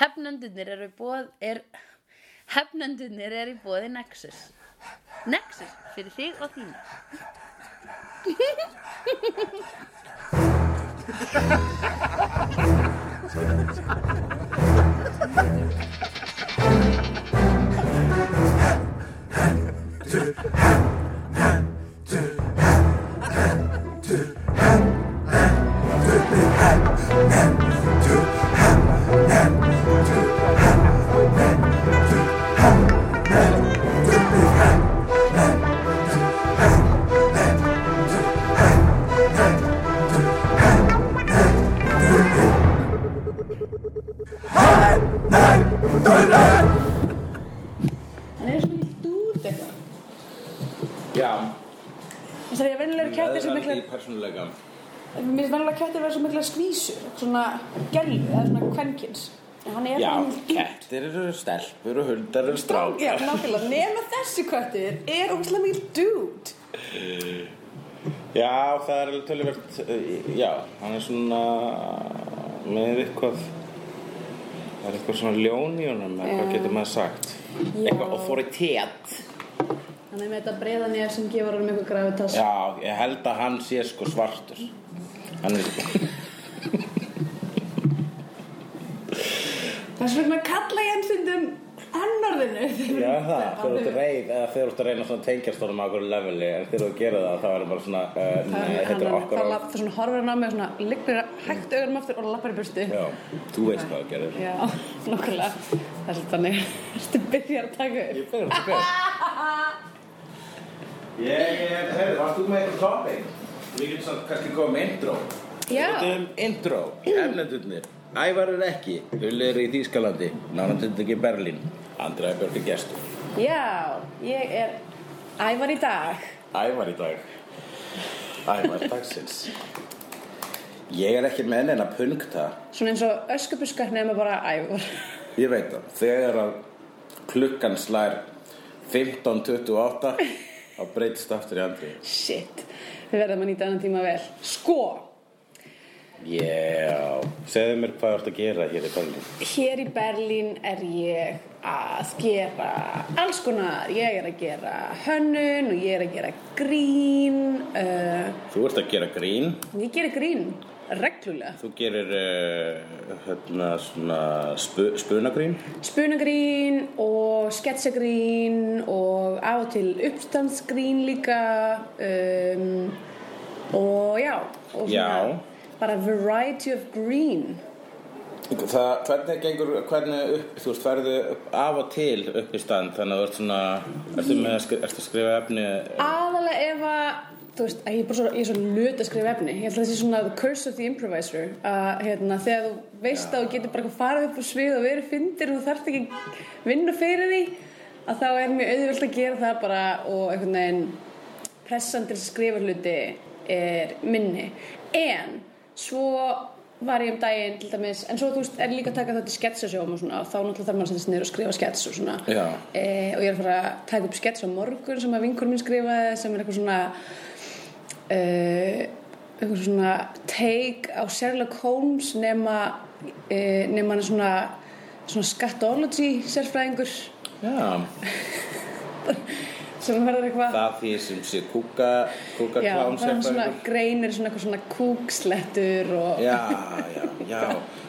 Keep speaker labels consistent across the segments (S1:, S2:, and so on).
S1: Hefnendurnir eru bóð er, Hefnendurnir eru í bóði Nexus Nexus fyrir þig og þína
S2: Hann er svo mikið dút eitthvað.
S3: Já,
S2: Þess að ég vennilega kettir sem mikla,
S3: í persónuleika
S2: mér finnst vennilega kettir vera svo mikla skvísur, svona gellu eða svona kvenkins. En hann er
S3: Já,
S2: svo mikið dút.
S3: kettir eru stelpur og hundar eru strák
S2: Já, nákvæmlega. Nefna þessi köttur er ógæslega mikið dút.
S3: Já, það er alveg töluvert eh, Já, hann er svona með eitthvað það er eitthvað svona ljón í honum eða hvað
S2: Já.
S3: getur maður sagt
S2: Já.
S3: eitthvað authoritet
S2: Hann er með þetta breiða nefn sem gefur hann eitthvað gravitas.
S3: Já, ég held að hann sé sko svartur Hann er
S2: Þess vegna kalla ég hann stundum annorðinu.
S3: Já, það, þegar þú ert reið eða þegar þú ert að reyna svona tengjast honum á okkur leveli en þegar þú gerir það, þá er það bara svona uh, Nei, þetta er okkur
S2: Það
S3: á
S2: lapp- svona horfir hann á mig og svona liggur hægt augunum aftur og lappar í burtu.
S3: Já, þú veist hvað þú gerir
S2: Já, nokkulega. Það er svolítið þannig. Ertu byrjar að taka upp?
S3: Ég byrjum þetta fyrst. Ég, ég, heyrðu, varst þú með eitthvað topping? Við getum samt kannski komið með intro.
S2: Já.
S3: Við getum intro, efnendurnir. Ævarur ekki, Ulli er í Þýskalandi, nánandund ekki Berlín. Andra er björnir gestur.
S2: Já, ég er ævar í dag.
S3: Ævar í dag. Ævar dagsins. Ég er ekki með neina punkta.
S2: Svona eins og öskubuskar nema bara ævar.
S3: Ég veit það, þegar að klukkan slær 15.28 þá breytist aftur í andri.
S2: Shit, við verðum að nýta annan tíma vel. Sko,
S3: Já, segðu mér hvað þú ert að gera hér í Berlín.
S2: hér í Berlín er ég að gera alls konar. Ég er að gera hönnun og ég er að gera grín. Uh,
S3: Þú ert að gera grín,
S2: ég gera grín reglulega.
S3: þú gerir uh, hérna svona spu, spunagrín.
S2: Spunagrín og sketsagrín og á og til uppstandsgrín líka um, og já og
S3: Já.
S2: bara variety of green
S3: Það, hvernig gengur, hvernig upp, þú veist, verðu af og til upp í stand, þannig að þú ert svona, ertu með að skri, ertu að skrifa efni, eh,
S2: aðalega ef að þú veist, æ, ég er bara svo, ég er svo löt að skrifa efni ég held að það sé svona the curse of the improviser að hérna, þegar þú veist að þú getur bara farið upp á svið og verið fyndir og þú þarft ekki vinna fyrir því að þá er mjög auðvöld að gera það bara og einhvern veginn pressan til að skrifa hluti er minni en svo var ég um daginn til dæmis, en svo þú veist er líka að taka þetta til sketsasjóum og svona og þá náttúrulega þarf maður að setja sig niður og skrifa skets og svona
S3: Já.
S2: Eh, og ég er að fara að taka upp skets á morgun sem að vinkur minn skrifaði sem er eitthvað svona uh, eitthvað svona take á Sherlock Holmes nema, uh, nema hann er svona svona skatology sérfræðingur
S3: já,
S2: sem verður eitthvað
S3: það því sem sé kúka, kúka
S2: Já,
S3: klám
S2: það er svona greinir svona eitthvað svona kúkslettur og
S3: Já, já, já,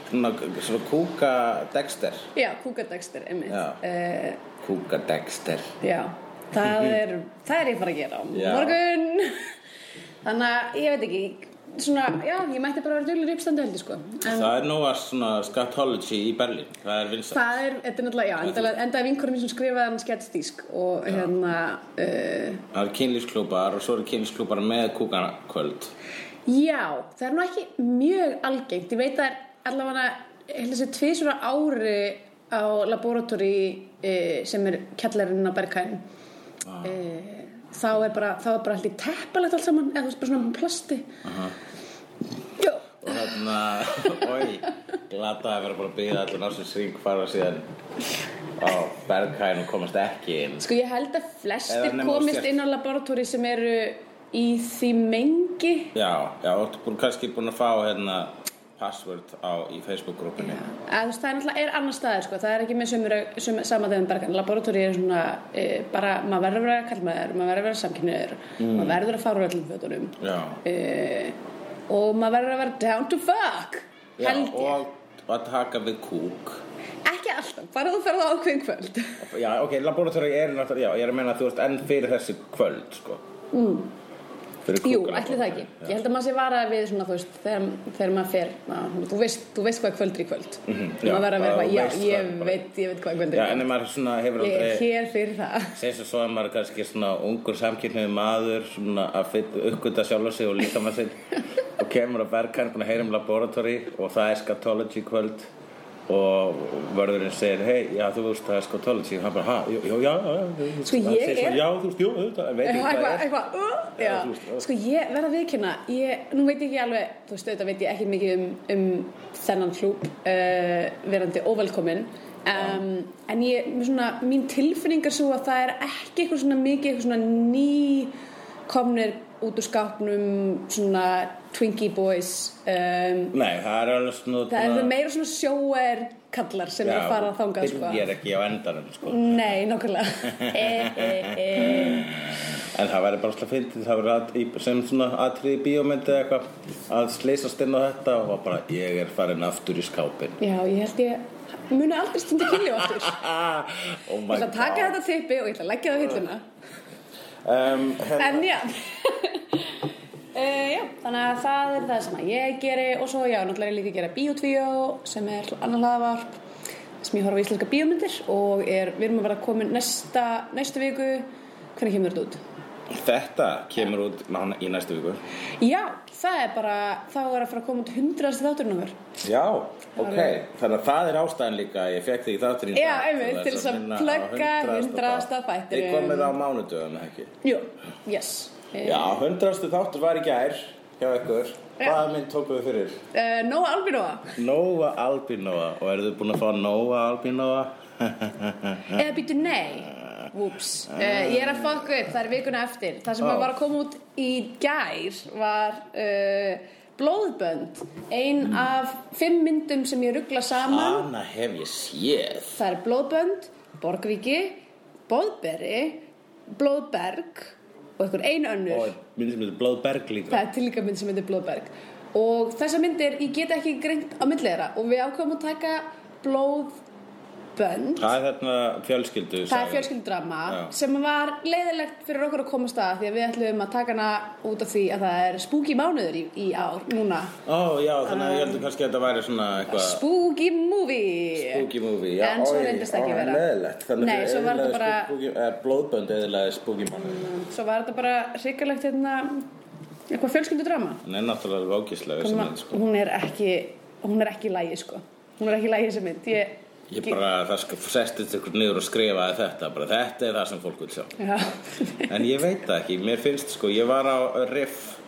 S3: svona, svona kúka dexter,
S2: já kúkadextir, einmitt
S3: Já.
S2: Eh,
S3: kúka dexter.
S2: Já, það er, það er ég bara að gera á
S3: Já.
S2: morgun Þannig að ég veit ekki svona, já, ég mætti bara vera dölur uppstandu heldur sko en það,
S3: Það er nú að svona skatology í Berlín, það er vinsað.
S2: er, þetta er náttúrulega, já, endalega, endaði vinkurinn sem skrifaði hann sketsdísk og hérna uh,
S3: Það eru kynlífsklúpar og svo eru kynlífsklúpar með kúkanakvöld.
S2: já, það er nú ekki mjög algengt, ég veit að allavega, held að sé tvisur á ári á laboratóri uh, sem er kjallarinn á Berghain
S3: Ah.
S2: uh, þá er bara, þá er bara allt í teppalegt allt saman, eða þú veist bara svona plasti Jó,
S3: Og þarna, oi, glata að vera bara að byggja allir náttúrulega sring fara síðan á berghæðin og komast ekki inn.
S2: sko ég held að
S3: Eða
S2: flestir
S3: nema á
S2: komist
S3: stjörn.
S2: inn á laboratóri sem eru í því mengi
S3: Já, já, þú ert búin, kannski búin að fá hérna password á, í Facebook-grúpunni.
S2: Að, þú veist, það er náttúrulega er annar staðir sko. það er ekki með sömur, sömur samadeðin bergan laboratóri er svona e, bara maður verður að vera kallmaður, maður verður að vera samkynniður
S3: Mm.
S2: maður verður að fara úr öllum fötunum
S3: Já.
S2: e, og maður verður að vera down to fuck
S3: Já,
S2: held ég,
S3: og að taka við kúk
S2: ekki alltaf bara þú ferð á ákveðin kvöld
S3: já, ok, laboratóri er náttúrulega, já, ég er að meina að þú ert enn fyrir þessi kvöld, sko mm.
S2: jú, ætli það ekki, ég held að maður sé varað við svona, þú veist, þegar, þegar maður fer maður, þú, veist, þú veist hvað kvöld er í kvöld
S3: Mhm, já,
S2: maður verður að vera
S3: bara
S2: eitthvað,
S3: þú
S2: já,
S3: veist
S2: ég
S3: það bara.
S2: veit ég veit hvað kvöld er
S3: Já,
S2: í
S3: en
S2: kvöld
S3: ef maður svona hefur
S2: ég er
S3: aldrei
S2: hér fyrir það
S3: segir svo svo að maður er kannski svona ungur samkynniði maður svona að fyrt uppgöta sjálf sig og líka maður sinn og kemur að verka hann búin að heyra um laboratóri og það er skatology kvöld og vörðurinn segir hei, já, þú veist, það er skatology og hann bara, ha, jú, jú, já, já, já, já
S2: Sko,
S3: Hann
S2: ég
S3: segir svona,
S2: er-
S3: já, þú veist, jú, auðvitað, en veit ekki hvað
S2: eitthvað,
S3: það er
S2: eitthvað, uh, já.
S3: þú veist, já.
S2: sko ég verð að viðkynna ég, nú veit ég ekki alveg, þú veist, auðvitað veit ég ekki mikið um, um þennan hlúp uh, verandi óvelkomin um, en ég, mér svona mín tilfinning er svo að það er ekki eitthvað svona mikið, eitthvað svona ný komnir út úr skápnum svona Twinkie Boys um,
S3: Nei, það er alveg svona
S2: það er meira svona sjóer kallar sem er að fara að þangað sko.
S3: Ég er ekki á endanum sko
S2: nei, nokkulega e, e, e.
S3: En það væri bara alltaf fyndið Það væri að, í- sem svona atriði bíómyndi eða eitthvað Að sleysast inn á þetta og bara Ég er farin aftur í skápin
S2: já, ég held ég muni aldrei stundi kynlíu aftur
S3: ah, Oh my
S2: Ég ætla að taka þetta tippi og ég ætla að leggja það á hilluna.
S3: um, hérna,
S2: En já. Uh, já, þannig að það er það sem að ég geri og svo já, náttúrulega er ég líka að gera Bíotvíó sem er annar hlaðavarp sem ég horfa á íslenska bíómyndir og er, við erum að vera komin næsta, næstu viku hvernig kemur þetta út?
S3: Þetta kemur út nána, í næstu viku
S2: Já, það er bara, þá er að fara að koma út hundraðasti þátturinn okkar
S3: Já, ok Þannig að það er ástæðan líka Ég fekk þig í þátturinn í
S2: Já,
S3: dag,
S2: einmitt,
S3: þú veist,
S2: til þess að
S3: minna á
S2: plugga
S3: 100.
S2: 100. þættinum.
S3: Þið komið á mánudöðum, ekki?
S2: Jú, yes Eh,
S3: Já, hundrastu þáttur var í gær hjá ykkur
S2: Já.
S3: Hvaða mynd tókum við fyrir?
S2: eh, Nóa Albinóa
S3: Nóa Albinóa og eru þið búin að fá Nóa Albinóa?
S2: Eða býtu nei Whoops uh, Ég er að fuck upp, það er vikuna eftir Það sem
S3: Ó.
S2: var að koma út í gær var uh, Blóðbönd Ein af fimm myndum sem ég ruggla saman
S3: Hana hef ég séð
S2: Það er Blóðbönd, Borgvíki Bóðberi Blóðberg og einhver ein önnur
S3: og mynd sem heitir Blóðberg líka
S2: Það er tilíka mynd sem heitir Blóðberg og þessa myndir, ég get ekki greint á milli þeirra og við ákveðum að taka Blóðbönd
S3: Það er þarna fjölskyldu
S2: Það er fjölskyldrama
S3: Já.
S2: sem var leiðilegt fyrir okkur að komast að því að við ætlum að taka hana út af því að það er spooky mánuður í, í ár núna.
S3: Ó já, þannig að ég heldur kannski að þetta væri svona eitthvað
S2: Ah. Spooky movie!
S3: Spooky movie, já,
S2: En svo
S3: oj,
S2: reyndist ekki
S3: ó,
S2: vera.
S3: leiðilegt. Þannig
S2: Nei,
S3: að
S2: svo var þetta
S3: eyðilagði
S2: bara- Mm.
S3: spooky, eh, Blóðbönd eðilaði spooky movie
S2: Svo var þetta bara hrikalegt hérna, eitthvað fjölskyldrama.
S3: Hann er náttúrulega vákislega sem mynd sko.
S2: Hún er ekki, hún er ekki lægi sko. Hún er ekki lægi sem mynd. Ég,
S3: Ég bara, það sko, sestist ykkur niður og skrifaði þetta bara, þetta er það sem fólk vil sjá
S2: Já.
S3: En ég veit það ekki, mér finnst sko, ég var á Riff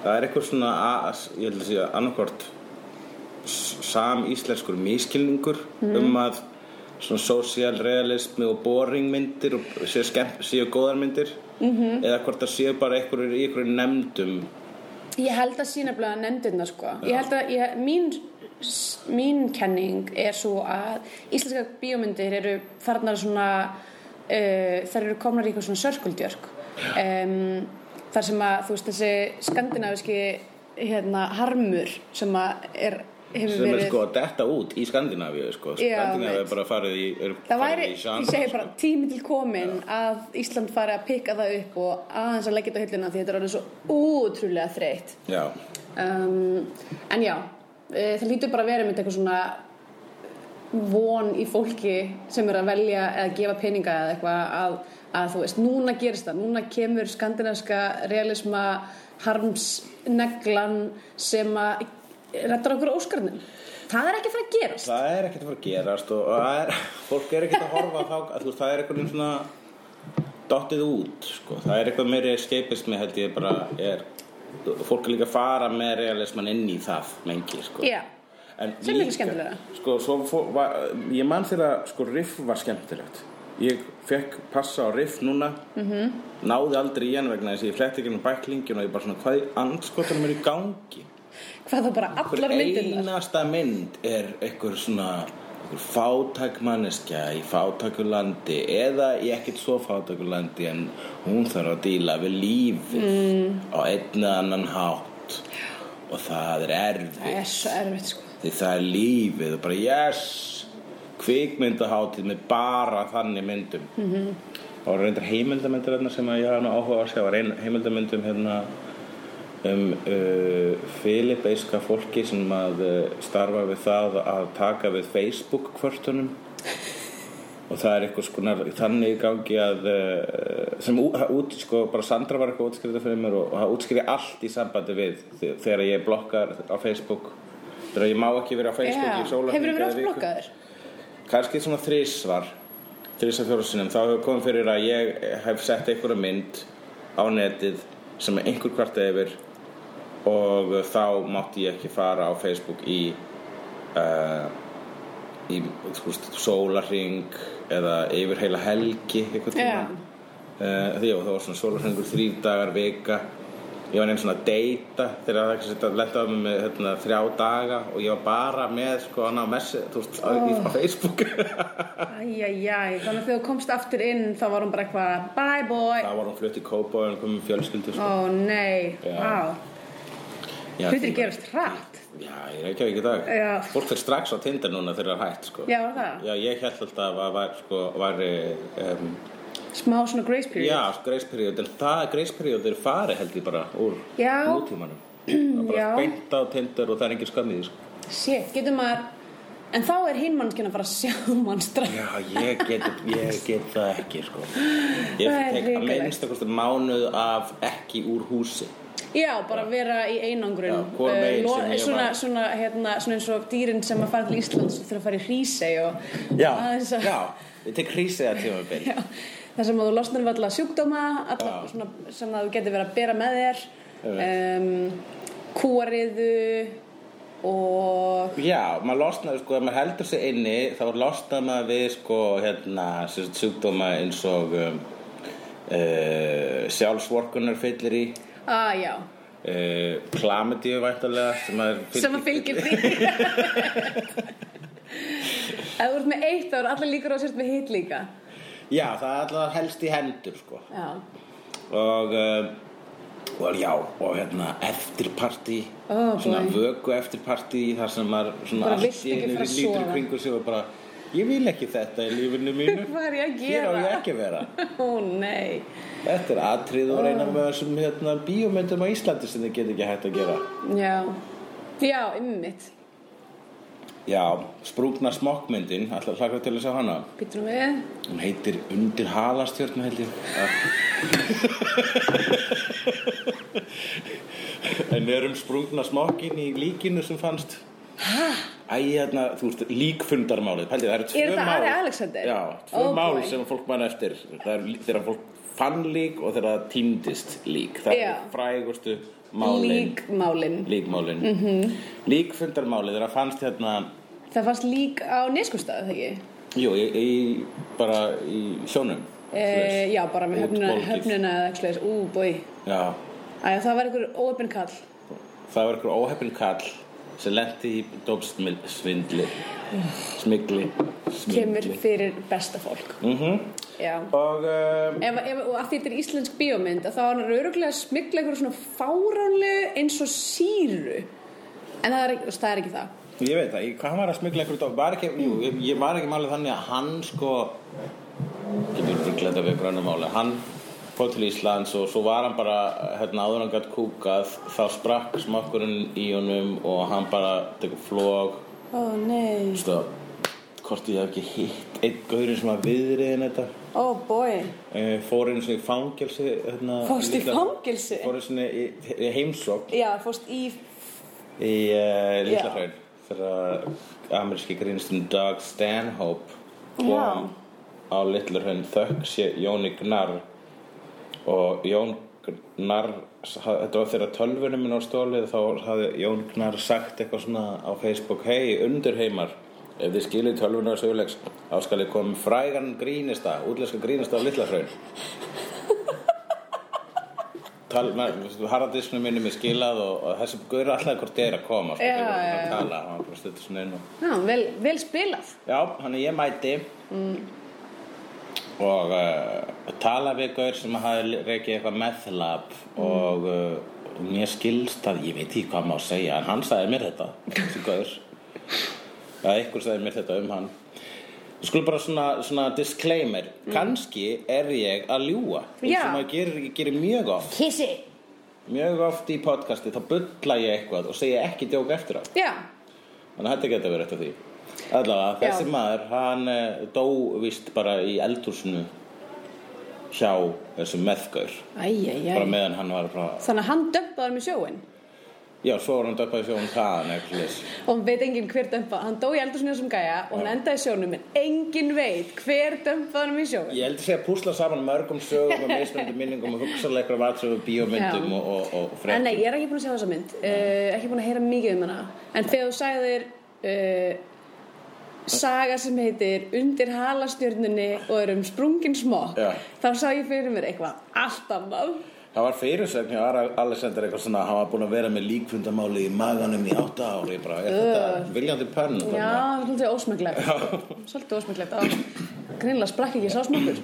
S3: Það er eitthvað svona, að, ég held að segja, annarkvort sam-íslenskur miskilningur
S2: Mm.
S3: um að svona social realismi og boring myndir og séu, skemmt, séu góðar myndir
S2: Mhm.
S3: -hmm. eða hvort það séu bara einhverjur í einhverjum nefndum
S2: Ég held að sínaflega nefndirna sko. Ég held að ég, mín, mín kenning er svo að íslenska bíómyndir eru farnar svona, uh, þær eru komnar í eitthvað svona sörkuldjörg. Um, þar sem að þú veist þessi skandinaviski hérna, harmur sem að er, hefur
S3: sem
S2: verið...
S3: er sko að detta út í Skandinavíu sko.
S2: Já,
S3: Skandinavíu er
S2: veit.
S3: bara farið í, er,
S2: Það væri,
S3: farið í sko.
S2: ég segi bara, tími til komin að Ísland fari að pikka það upp og aðeins að leggja þetta á hilluna því þetta er alveg svo útrúlega þreytt.
S3: Já,
S2: um, en já e, það lítur bara að vera með eitthvað svona eh, von í fólki sem er að velja eða gefa peninga eða eitthvað að, að þú veist, núna gerist það núna kemur skandinavska realisma harmsneglan sem að rettar okkur óskarnum það er ekki að fara að gerast
S3: það er ekkert að fara að gerast og og það er, fólk er ekkert að horfa þá, að þú veist, það er eitthvað svona dottið út, sko, það er eitthvað meiri escapismi held ég bara er fólk er líka að fara með realisman inn í það lengi, sko
S2: Já.
S3: En
S2: Sem er líka skemmtilegra.
S3: Sko, svo fó, var, ég man þegar að, sko, riff var skemmtilegt ég fekk passa á riff núna
S2: Mhm.
S3: -hmm. náði aldrei í hann vegna þess að ég fletti ekki með bæklingin og ég bara svona, hvað í anskotunum er í gangi
S2: hvað það bara
S3: Hver
S2: allar myndirnar
S3: einasta mynd er einhver svona einhver fátæk manneskja í fátækulandi eða í ekkert svo fátækulandi en hún þarf að díla við lífið
S2: Mm.
S3: á einn eða annan hátt og það er
S2: það
S3: erfitt
S2: er svo erfitt sko
S3: því það er lífið og bara yes kvikmyndahátíð með bara þannig myndum -hmm. og reyndar heimildamyndir þarna sem að ég hafði nú áhuga á að sjá var ein heimildamyndum hérna um uh, filipeiska fólki sem að uh, starfa við það að taka við Facebook kvörtunum og það er eitthvað skonar þannig í gangi að uh, sem ú- það út, sko, bara Sandra var eitthvað útskriða fyrir mér og, og það útskriði allt í sambandi við þe- þegar ég blokkar á Facebook þegar ég má ekki vera á Facebook
S2: Já,
S3: í sólarhring
S2: hefur verið
S3: eða
S2: oft
S3: viku.
S2: blokkaður?
S3: kannski svona þrísvar þrísvar fjóra sinum, þá hefur komið fyrir að ég hef sett einhverja mynd á netið sem er einhver kvart yfir og þá mátti ég ekki fara á Facebook í uh, í sko, sólarring eða yfir heila helgi einhvern
S2: Já.
S3: tímann uh, því að það var svona sólarringur þrýr dagar vika ég var einn svona að deyta þegar það ekki setja að lenda á mig með hérna, þrjá daga og ég var bara með sko hann á messi þú veist oh. á Facebook
S2: Æjæjæj, þannig að þegar þú komst aftur inn þá var hún bara eitthvað bye boy
S3: þá var hún flutt í Kópa og hann kom með fjölskyldu sko.
S2: Ó nei,
S3: Já.
S2: vá,
S3: Já,
S2: hlutir
S3: því-
S2: gerast hratt
S3: Já, ég er ekki ekki í dag
S2: Já.
S3: Fólk fyrir strax á Tinder núna þegar það er hægt sko.
S2: Já, var það?
S3: Já, ég held alltaf að var, sko, var um,
S2: Smá svona grace period
S3: Já, greisperiód, en það greisperiód er farið held ég bara úr
S2: Já.
S3: nútímanum Það er bara
S2: Já.
S3: beint á Tinder og það er engin skamið sko.
S2: Shit, getur maður En þá er hinn mannskinn að fara að sjá mann strax
S3: Já, ég get, ég get það ekki sko. Ég
S2: Það er
S3: tek að
S2: hrikalegt.
S3: minnst eitthvað mánuð af ekki úr húsi
S2: Já, bara vera í einangrun
S3: Já, hvorum
S2: Eh,
S3: megin
S2: lo-
S3: sem ég
S2: svona,
S3: var.
S2: svona, hérna, svona eins og dýrin sem að fara til Íslands og þurfa að fara í hrísei og aðeins að-
S3: já, ég tek hrísið að tímabil
S2: Já, þar sem að þú losnar við alla sjúkdóma alla
S3: Já.
S2: svona, sem að þú getur verið að bera með þér um, kúariðu og
S3: Já, maður losnaði sko, ef maður heldur sig inni þá losnaði maður við sko hérna, sem sagt, sjúkdóma eins og um, uh, sjálfsvorkunar fyllir í
S2: að já,
S3: uh, klamidíu væntalega sem maður
S2: sem að fylgir því Ef þú ert með eitt þá eru allir líkur á sért með hitt líka
S3: Já, það er alltaf helst í hendur sko
S2: Já,
S3: og, um, og já, og hérna eftirparti
S2: Ó,
S3: svona
S2: boy.
S3: vöku eftirparti þar sem maður svona
S2: Bara
S3: allt
S2: vilt
S3: í
S2: ekki
S3: einu
S2: fara að
S3: lítur
S2: sofa.
S3: í kringu sig og bara ég vil ekki þetta í lífinu mínu
S2: hvað er ég að
S3: hér á
S2: gera?
S3: ég ekki að vera
S2: Ó nei,
S3: Þetta er atrið
S2: Ah.
S3: og reyna með þessum hérna, bíómyndum á Íslandi sem þið get ekki hægt að gera.
S2: já Já, ymmit,
S3: Já, sprungna smokkmyndin, alltaf hlakka til að sjá hana.
S2: býtum við
S3: Hún heitir Undir halastjörnu held ég. en er um sprungna smokkin í líkinu sem fannst. Hæ? Æ, hérna, þú veist, líkfundarmálið, pældi, það eru tvö mál.
S2: Er þetta Ari Alexander?
S3: Já, tvö
S2: Oh
S3: mál
S2: boy.
S3: sem fólk mann eftir. Það er þegar fólk fann lík og þegar það týndist lík. Það
S2: Já.
S3: eru frægustu málin.
S2: Líkmálin
S3: líkmálin mm -hmm. líkfundarmálið þegar fannst hérna
S2: Það fannst lík á neskustað, þegar ekki?
S3: jú, í, í, bara í sjónum
S2: E, já, bara með höfnuna,
S3: Útbólgið.
S2: höfnuna eða eitthvað slags, ú, bói.
S3: já,
S2: Æja, það var einhver óöfn kall.
S3: það var einhver óheppin kall sem lendi í dópsvindli smigli
S2: Kemur
S3: smigli
S2: fyrir besta fólk.
S3: mm
S2: Já.
S3: og um,
S2: Ef, ef, og af því þetta er íslensk bíómynd, að þá er hann rauruglega að smigla einhverju svona fáránlegu eins og síru. En það er, ekki- þú veist, það er ekki það.
S3: ég veit það, ég- hvað hann var að smigla einhver dóp var ekki, jú, ég, ég var ekki málið þannig að hann sko getur rugglega þetta við grænum máli hann fór til Íslands og svo var hann bara hérna áður en hann gætt kúkað þá sprakk smokkurinn í honum og hann bara tekur flog
S2: Ó, nei.
S3: Vistu að hvort ég hef ekki hitt einn gaurinn sem að viðriðin þetta
S2: Ó, bói.
S3: Eh, fór einu sinni í fangelsi hérna,
S2: Fórst í
S3: líklega-
S2: fangelsi?
S3: fór einu sinni í, í heimsókn
S2: Já, fórst í...
S3: í uh,
S2: Já.
S3: Lítlafræðin þegar ameríski grínstinn eh, Doug Stanhope kom á Lítlafræðin þökk sé Jóni Gnarr og Jón Gnarr þetta var þegar tölvunum minn á stólið þá hafði Jón Gnarr sagt eitthvað svona á Facebook hei undurheimar ef þið skilir tölvunum á sögulegs þá skal ég koma með frægan grínista útlæska grínista á Lítlafræðin tal- maður- harðardisnum minnum er skilað og, og þessi gaur er alltaf hvort þeir að koma sko,
S2: Já,
S3: þeir voru
S2: já,
S3: að
S2: já.
S3: tala, hann var bara stuttur svona inn og
S2: Já, vel, vel spilað.
S3: Já, hann ég mæti og uh, tala við gaur sem hafi reikið eitthvað methlab og, uh, og mér skilst að ég veit ekki hvað má segja en hann sagði mér þetta, þessi gaur eða ykkur sagði mér þetta um hann Við skulum bara svona, svona disclaimer kannski er ég að ljúga eins
S2: Já.
S3: og maður gerir, gerir mjög oft
S1: Kissi
S3: mjög oft í podcasti þá bulla ég eitthvað og segja ekki djók eftir á
S2: Já,
S3: Þannig að þetta getur verið eftir því Allavega, þessi
S2: Já.
S3: maður, hann eh, dó vist bara í eldhúsinu hjá þessum meðgaur bara
S2: æjæjæj.
S3: meðan hann var bara
S2: Þannig að hann dömpaði um í sjóin
S3: já, svo var hann döpað í sjóum hraðan eitthvað svoleiðis.
S2: og hann veit enginn hver dömpaði. Hann dó í eldursunni þessum gæja og hann endaði í sjónum en enginn veit hver dömpaði um í sjóin.
S3: ég heldur sé að púsla saman mörgum sögum og mismunandi minningum og hugsaðlega eitthvað vatsöfu bíómyndum
S2: Já.
S3: og, og, og
S2: En
S3: fréttum
S2: nei, ég er ekki búin að sjá þessa mynd, uh, ekki búin að heyra mikið um hana. En þegar þú sagðir uh, saga sem heitir Undir halastjörnunni og er um sprungin smokk,
S3: Já.
S2: þá sá ég fyrir mér eitthvað allt annað.
S3: Það var fyrirsögn hjá Ara- Alexander eitthvað svona hann var búin að vera með líkfundamáli í maganum í átta ári bara, er þetta viljandi pönn
S2: Já, það er svolítið ósmögglegt. Svolítið ósmögglegt. á- Greinilega sprakk ekki sá smokkur.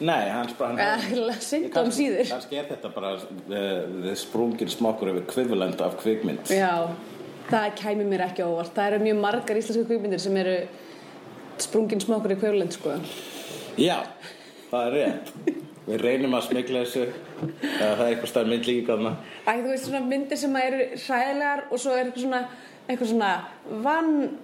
S3: nei, hans bara hann
S2: Eða,
S3: Ég
S2: synd um
S3: kannski-
S2: síður.
S3: Kannski er þetta bara uh, sprungin smokkur yfir kvivalent af kvikmynd.
S2: Já, það kæmi mér ekki á óvart. Það eru mjög margar íslensku kvikmyndir sem eru sprungin smokkur í kvörlend, sko.
S3: Já, það er rétt. Við reynum að smikla þessu. eða Það er eitthvað stær myndlíkingana.
S2: Æ, þú veist svona myndir sem eru hræðilegar og svo er eitthvað svona, eitthvað svona vann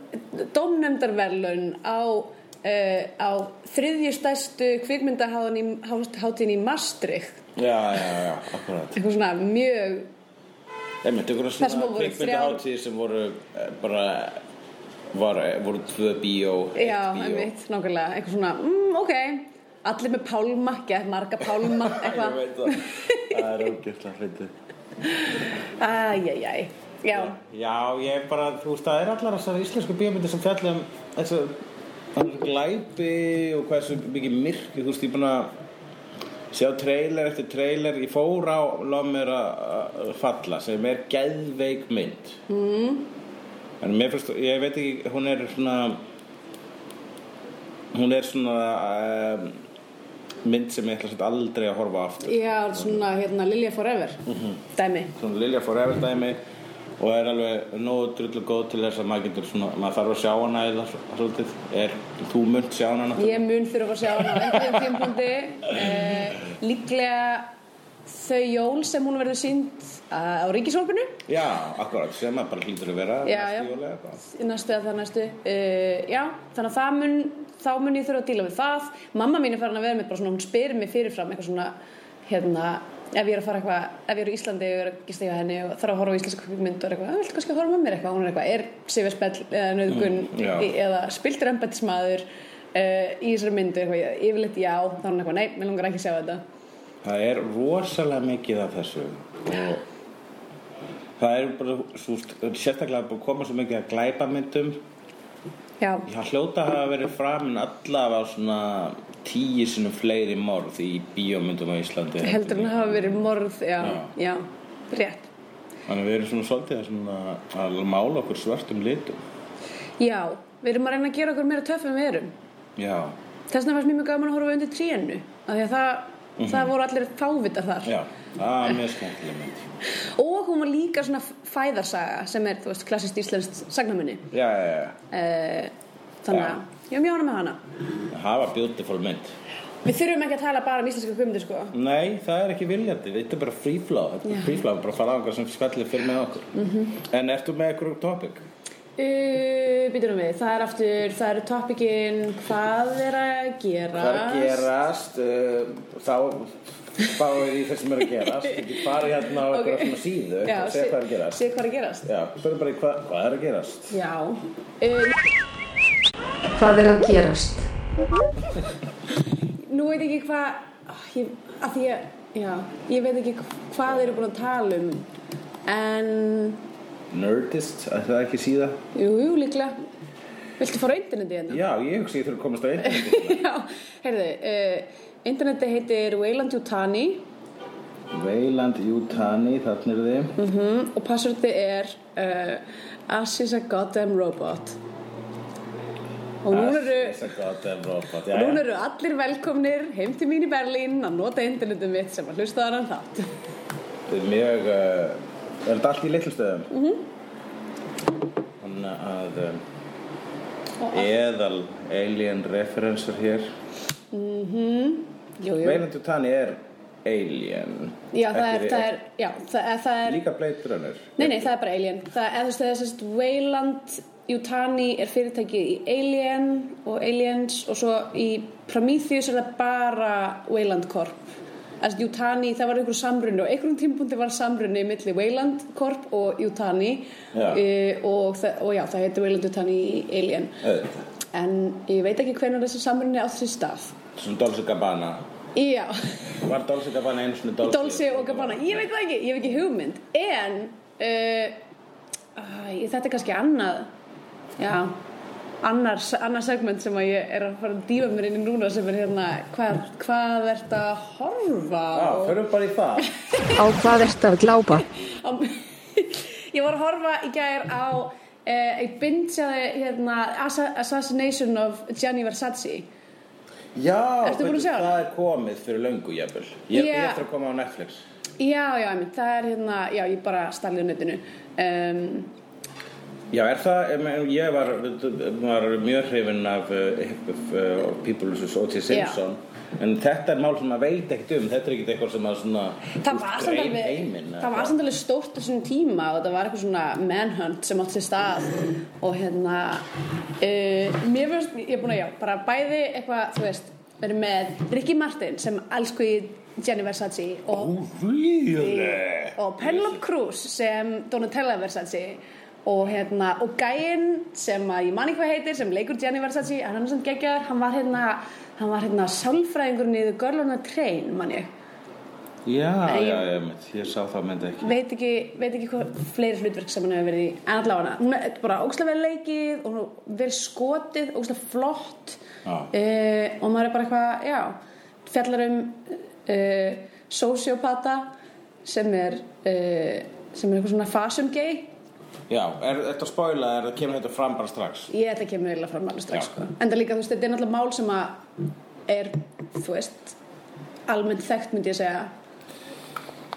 S2: dómnefndarverlun á, uh, á þriðju stærstu kvikmyndahátíðin í, hást- hátíðinni í Maastricht.
S3: Já, já, já, akkurat.
S2: Eitthvað svona mjög,
S3: Ég myndi ykkur
S2: Þar sem
S3: svona
S2: voru
S3: kvikmyndahátíð sem voru eh, bara var, eh, voru tvö bíó, eitt
S2: já,
S3: bíó.
S2: einmitt, nákvæmlega, eitthvað svona, mm, ok, allir með pálma, gett marga pálma,
S3: Ég
S2: eitthvað,
S3: veit það. Það er ógjöfla hlutu.
S2: æjæjæj, já,
S3: Já, ég er bara, þú veist, það er allar þessar íslensku bíómyndir sem fjalla um þessu þessu glæpi og hversu mikið myrk, þú veist, ég er búin að sjá trailer eftir trailer, ég fór á Lommer að uh, falla sem er geðveik mynd. Mm. En mér finnst, ég veit ekki, hún er svona, hún er svona um, mynd sem ég ætla samt aldrei að horfa á aftur.
S2: já, svona, hérna, Lilja Forever,
S3: Mhm.
S2: dæmi.
S3: svona Lilja Forever dæmi og er alveg nógu drullu góð til þess að maður getur svona, maður þarf að sjá hana eða svo- svolítið, er, þú munt sjá hana náttúrulega.
S2: Ég mun þurfa að sjá hana á einhverjum tímpundi uh, Líklega þau jól sem hún verður sínd á ríkisólpinu
S3: Já, akkurat, sem að bara hlýtur að vera
S2: Já,
S3: næstu
S2: já.
S3: jól eða eitthvað.
S2: Næstu eða það næstu uh, Já, þannig að það mun þá mun ég þurfa að díla við það Mamma mín er farin að vera með bara svona hún spyr mig fyrirfram eitthvað svona hérna ef ég er að fara eitthvað, ef ég er í Íslandi og er að gista hjá henni og þarf að horfa á íslensku mynd og er eitthvað, "Ah, viltu kannski að horfa með mér eitthvað, hún er eitthvað, er sifjarspell eða nöðgun
S3: Mm, já.
S2: í- eða spiltur embættismæður uh, í þessari myndu eitthvað, ég- yfirleitt já, þá er hann eitthvað, nei, mér langar ekki að sjá þetta.
S3: Það er rosalega mikið af þessu og það er bara, svo, sérstaklega búið að koma svo mikið að glæpa myndum
S2: Já,
S3: Það hljóta að hafa verið framin allavega á svona tíu sinum fleiri morð í bíómyndum á Íslandi
S2: heldur hann hafa verið morð, já, já, rétt.
S3: Þannig að við erum svona svolítið að svona, að mála okkur svörtum litum
S2: Já, við erum að reyna að gera okkur meira töff en við erum.
S3: Já,
S2: Þess vegna fannst mér mjög gaman að horfa undir trénu, af því að það, það voru allir fávitar þar.
S3: já, það er mjög skemmtileg mynd
S2: Og hún var líka svona f- fæðarsaga sem er, þú veist, klassist íslenskt sagnamunni.
S3: Já, já, já,
S2: Uh, þannig að, ég er mjög ánum með hana.
S3: það var beautiful mynd
S2: Við þurfum ekki að tala bara um íslenska kvömyndir, sko.
S3: Nei, það er ekki viljandi, þetta er bara fríflá Þetta er
S2: Já. Mhm.
S3: fríflá, bara að fara á einhver sem skallir fyrir með okkur -hmm. En ertu með einhverjum topic?
S2: Uh, Býturum við, það er aftur, það eru topikinn, hvað er að gera?
S3: Hvað er að gerast? Uh, þá fáum við í það sem er að gerast Ekki fara hérna á einhverja
S2: Ok.
S3: svona síðu
S2: Já,
S3: og segja hvað er að gerast
S2: Sér hvað er að gerast.
S3: Já, spurðu bara í hvað, hvað er að gerast?
S2: Já. Uh,
S4: Eh, Hvað er að gerast?
S2: nú veit ég ekki hvað, ah, ég, að því ég, já, ég veit ekki hv- hvað þeir eru búin að tala um, en,
S3: Nerdist, er það ekki síða?
S2: jú, jú, líklega, viltu fara á interneti hérna?
S3: Já, ég hugsi ég þurf að komast á einhverjum
S2: eh, Já, heyrðu, uh, interneti heitir Wayland Yutani
S3: Veiland Jutani, þarna eru þið.
S2: Mhm, og passwordið er uh, Ash is a goddamn robot og nú eru
S3: Þess að gott er robot,
S2: og nú
S3: já.
S2: eru allir velkomnir heim til mín í Berlín að nota internetum mitt sem að hlusta þaðan þátt
S3: Þetta er mjög, uh, er þetta allt í litlustöðum? Mhm. Þannig að um, eðal alien referensur hér.
S2: jú, jú.
S3: Veiland Jutani er alien.
S2: Já, það
S3: Ekki
S2: er,
S3: við-
S2: það er, já, það er, það er
S3: Líka Blade Runner.
S2: nei, nei, það er bara Alien það er, eða þú veist, það er sérst Wayland Yutani er fyrirtækið í Alien og Aliens og svo í Prometheus er það bara Wayland Corp Þessi Yutani, það var einhver samrunni og einhverjum tímpúndi var samrunni milli Wayland Corp og Yutani
S3: Já.
S2: uh, og, það- og já, það heitir Wayland Yutani í Alien
S3: Auðvitað.
S2: en ég veit ekki hvernig þessi samrunni á þessi stað
S3: Svona Dolce Gabbana.
S2: Já,
S3: Var Dolce Gabbana einu svona Dolce?
S2: Dolce og Gabbana Ég veit það ekki, ég hef ekki hugmynd En uh, æ, Þetta er kannski annað Já annar, annar segment sem að ég er að fara að dýfa mér inn í núna sem er hérna hvað, hvað ert að horfa
S3: Já,
S2: á?
S3: förum bara í það.
S4: Á hvað ert að glápa?
S2: á Ég var að horfa í gær á uh, ég bindjaði hérna Assa- Assassination of Gianni Versace
S3: Já,
S2: Ertu búin að
S3: veitu,
S2: sjá hana?
S3: það er komið fyrir löngu jafnvel. Ég, ég
S2: Já.
S3: eftir að koma á Netflix.
S2: Já, já, einmitt, það er hérna já, ég bara stalið á netinu um,
S3: Já, er það, em, em, ég var, var mjög hrifinn af uh, uh, People vs. O.T. Simpson. En þetta er mál sem maður veit ekkert um, þetta er ekkert eitthvað sem maður svona...
S2: Það var samt alveg,
S3: Heimin,
S2: það var samt alveg stórt á þessum tíma og þetta var eitthvað svona manhunt sem átt sér stað og hérna uh, mér finnst, ég er búin að já, bara bæði eitthvað, þú veist, verið með Ricky Martin sem elsku í Jenny Versace og,
S3: Óvíðileg!
S2: og Penelope Cruz sem Donatella Versace og hérna, og Gæinn sem að ég man ekki hvað heitir, sem leikur Jenny Versace en hann er samt geggjar, hann var hérna hann var hérna sálfræðingurinn í The Girl on a Train, man ég
S3: Já,
S2: Nei, ég-
S3: já, ég, mitt, ég sá það mynd ekki.
S2: veit ekki, veit ekki hvað fleiri hlutverk sem hann hefur verið í en allavega hún er bara ógstlega vel leikið og hún er vel skotið, ógstlega flott
S3: Já.
S2: uh, og maður er bara eitthvað já, fjallar um uh, sociopata sem er uh, sem er eitthvað svona fasumgei
S3: Já, er þetta spóila, er, kemur þetta fram bara strax?
S2: ég ætla að kemur eiginlega fram alveg strax
S3: Já.
S2: sko. en það líka, þú veist, þetta er náttúrulega mál sem að er, þú veist almennt þekkt myndi ég segja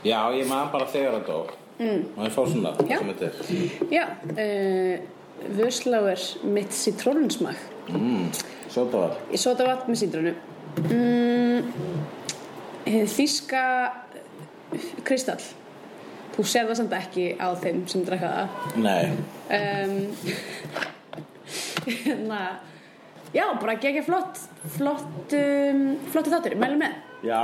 S3: Já, ég man bara þegar þetta á. Mm. Og ég fá svona,
S2: Já.
S3: sem þetta er.
S2: já, uh, vösláður mitt sitrónunsmag
S3: Sjóta var.
S2: Ég sota vatn með sítrunu mm, Hið þýska eh, kristall Þú sér það samt ekki á þeim sem drakka það
S3: Nei,
S2: um, hérna, Já, bara gegja flott Flott um, Flottu þáttur, mælum með
S3: já,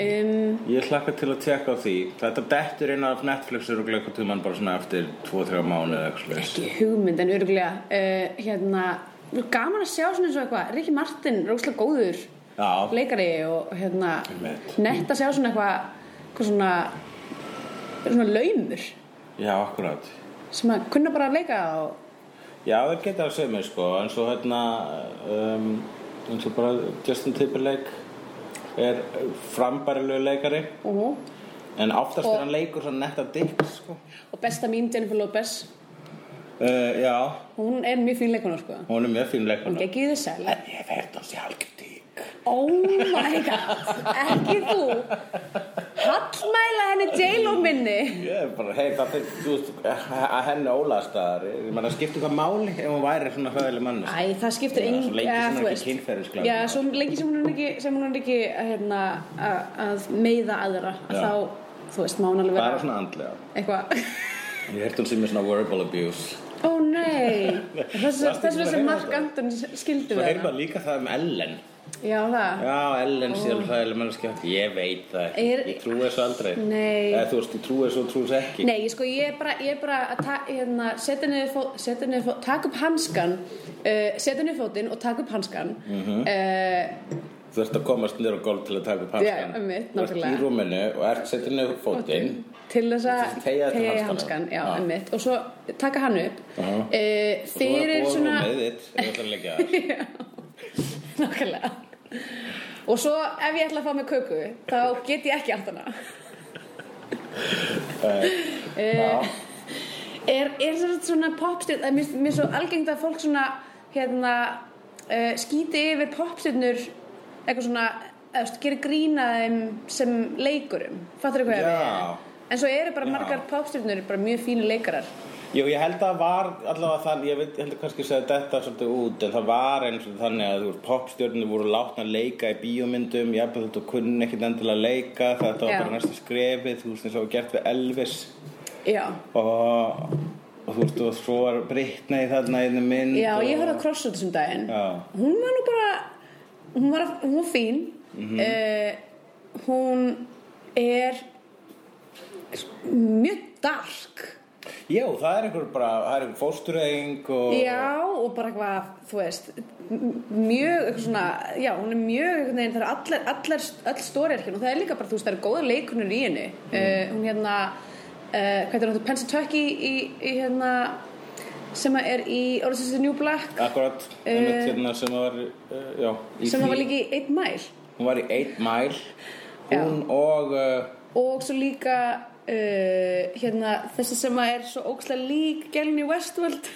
S2: um,
S3: ég hlakka til að tekka á því. Þetta dettur inn af Netflix eru glöku tíman bara svona eftir 2-3 mánuð eða eitthvað slags.
S2: Ekki hugmynd en örgulega uh, Hérna, nú er gaman að sjá svona eins og eitthvað Rikki Martin, rókslega góður
S3: Já,
S2: leikari og hérna
S3: Einmitt.
S2: nett að sjá svona eitthvað eitthvað svona, svona laumur
S3: já, akkurat.
S2: sem að kunna bara að leika og
S3: Já, það geta að segja mér sko, eins og hérna, um, eins og bara Justin Timberlake er frambærilegu leikari. En oftast er hann leikur svona netta dikk, sko.
S2: og besta mín Jennifer Lopez
S3: Uh, já,
S2: hún er mjög fín leikona sko
S3: hún er mjög
S2: hún
S3: fín leikona.
S2: gekkið þið sæl
S3: En ég verð hans í algjör dikk.
S2: oh my god ekki þú hallmæla henni J-Lo minni
S3: Ég er bara, hei, það fyrir, þú veist, að henni ólaðstæðar, ég meina, skiptir hvað máli ef hún væri svona höðileg mannes.
S2: Æ, það skiptir
S3: Já,
S2: engin
S3: svo lengi
S2: þú
S3: sem hún er ekki sko.
S2: veist.
S3: kynferðisglæpur.
S2: Já, svo lengi sem hún er ekki, sem hún er ekki hérna, að, að meiða aðra
S3: Já.
S2: þá, þú veist, má hún alveg
S3: Bara
S2: vera
S3: svona andlega.
S2: eitthvað
S3: Ég held hún sem er svona verbal abuse.
S2: Ó nei, þess
S3: Varstu
S2: þess
S3: búin
S2: vegna sem
S3: að heyra
S2: Mark
S3: þetta?
S2: Anton skildi
S3: Svo
S2: við
S3: heyrði
S2: hana.
S3: maður líka það um Ellen.
S2: Já það,
S3: Já, Ellen síðan hræðileg mannskja. Ég veit það ekki.
S2: Er-
S3: Ég trúi þessu aldrei.
S2: Nei.
S3: Eða þú veist, ég trúi þessu og trúi þessu ekki.
S2: nei ég sko ég er bara, ég er bara að ta, hérna, setja niður fót, setja niður fót, taka upp hanskan, uh, setja niður fótinn og taka upp uh, hanskan. Mm
S3: Mhm. Þú ert að komast niður á golf til að taka upp
S2: Já,
S3: hanskan.
S2: einmitt,
S3: Þú ert
S2: nákvæmlega.
S3: í rúminu og ert settir niður fótinn.
S2: til þess að
S3: Teygja þetta
S2: teygja í
S3: hanskanum.
S2: hanskan, já,
S3: Já.
S2: einmitt, og svo taka hann upp.
S3: Já.
S2: Uh,
S3: Og þú er
S2: fyrir
S3: að
S2: svona...
S3: búa rúmið þitt. Þú ert að leggja það.
S2: Nákvæmlega Og svo ef ég ætla að fá mig köku þá get ég ekki átt hana er, er þetta svona popstjörn að mér, mér er svo algengt að fólk svona hérna uh, skýti yfir popstjörnur eitthvað svona eðst, gerir grína þeim sem leikurum fattur hvað ég
S3: Já.
S2: að við en svo eru bara
S3: Já.
S2: margar popstjörnur bara mjög fínu leikarar
S3: Jú, ég held að það var allavega þannig, ég veit, ég held að kannski segja þetta svolítið út, en það var eins og þannig að þú veist, popstjörnir voru látna að leika í bíómyndum, ég held að þetta kunni ekkit endilega að leika, þetta
S2: Já.
S3: var bara næsta skrefið, þú veist, eins og var gert við Elvis
S2: já,
S3: og, og þú veist, og svo var Britney þarna í einu mynd
S2: já
S3: og,
S2: ég horfði á crossfit þessum daginn
S3: Já.
S2: hún var nú bara hún var, hún var fín mm
S3: Mhm.
S2: hún er mjög dark
S3: Jú, það er einhver bara, það er einhver fóstureyðing og
S2: Já, og bara eitthvað, þú veist, m- mjög, eitthvað svona, já, hún er mjög, einhvern veginn, það er allar, allar, all stóri hérna og það er líka bara, þú veist, það eru góða leikunur í henni.
S3: Mm.
S2: Uh, hún hérna, uh, hvað er hún, Pennsatucky í, í hérna, sem að er í Orange is the New Black,
S3: akkurat, einmitt hérna sem var, uh, já, í
S2: Eh, sem
S3: því-
S2: að var líka í Eight Mile.
S3: Hún var í 8 Mile, hún og... Uh,
S2: Og svo líka, uh, hérna, þessi sem að er svo ókslega lík Gelni Westworld.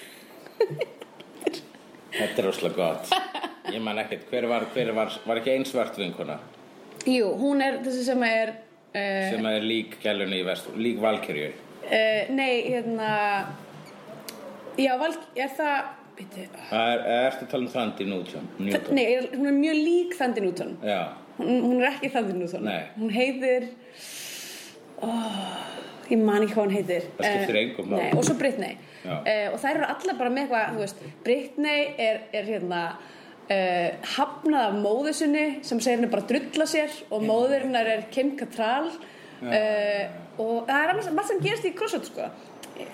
S3: Þetta er rosalega gott Ég man ekkert, hver var, hver var, var ekki ein svart vinkona
S2: Jú, hún er þessi sem að er... Uh,
S3: sem er lík gælunni í vestur, lík Valkyrju
S2: Uh, nei, hérna Já, Valk, er það byrju,
S3: Það er, ertu að tala um Þandi Newton? Newton?
S2: Nei, er, hún er mjög lík Þandi Newton
S3: Já,
S2: hún, hún er ekki Þandi Newton
S3: Nei.
S2: Hún heitir oh, Ég man ekki hvað hún heitir
S3: Það skiptir
S2: Eh,
S3: engu máli.
S2: Nei, og svo Britney
S3: Já.
S2: uh, Og þær eru allar bara með eitthvað þú veist, Britney er, er hérna Uh, hafnað af móður sinni sem segir henni bara að drulla sér og móður hennar er Kim Cattrall uh, og það er annars- margt sem gerist í crossfit sko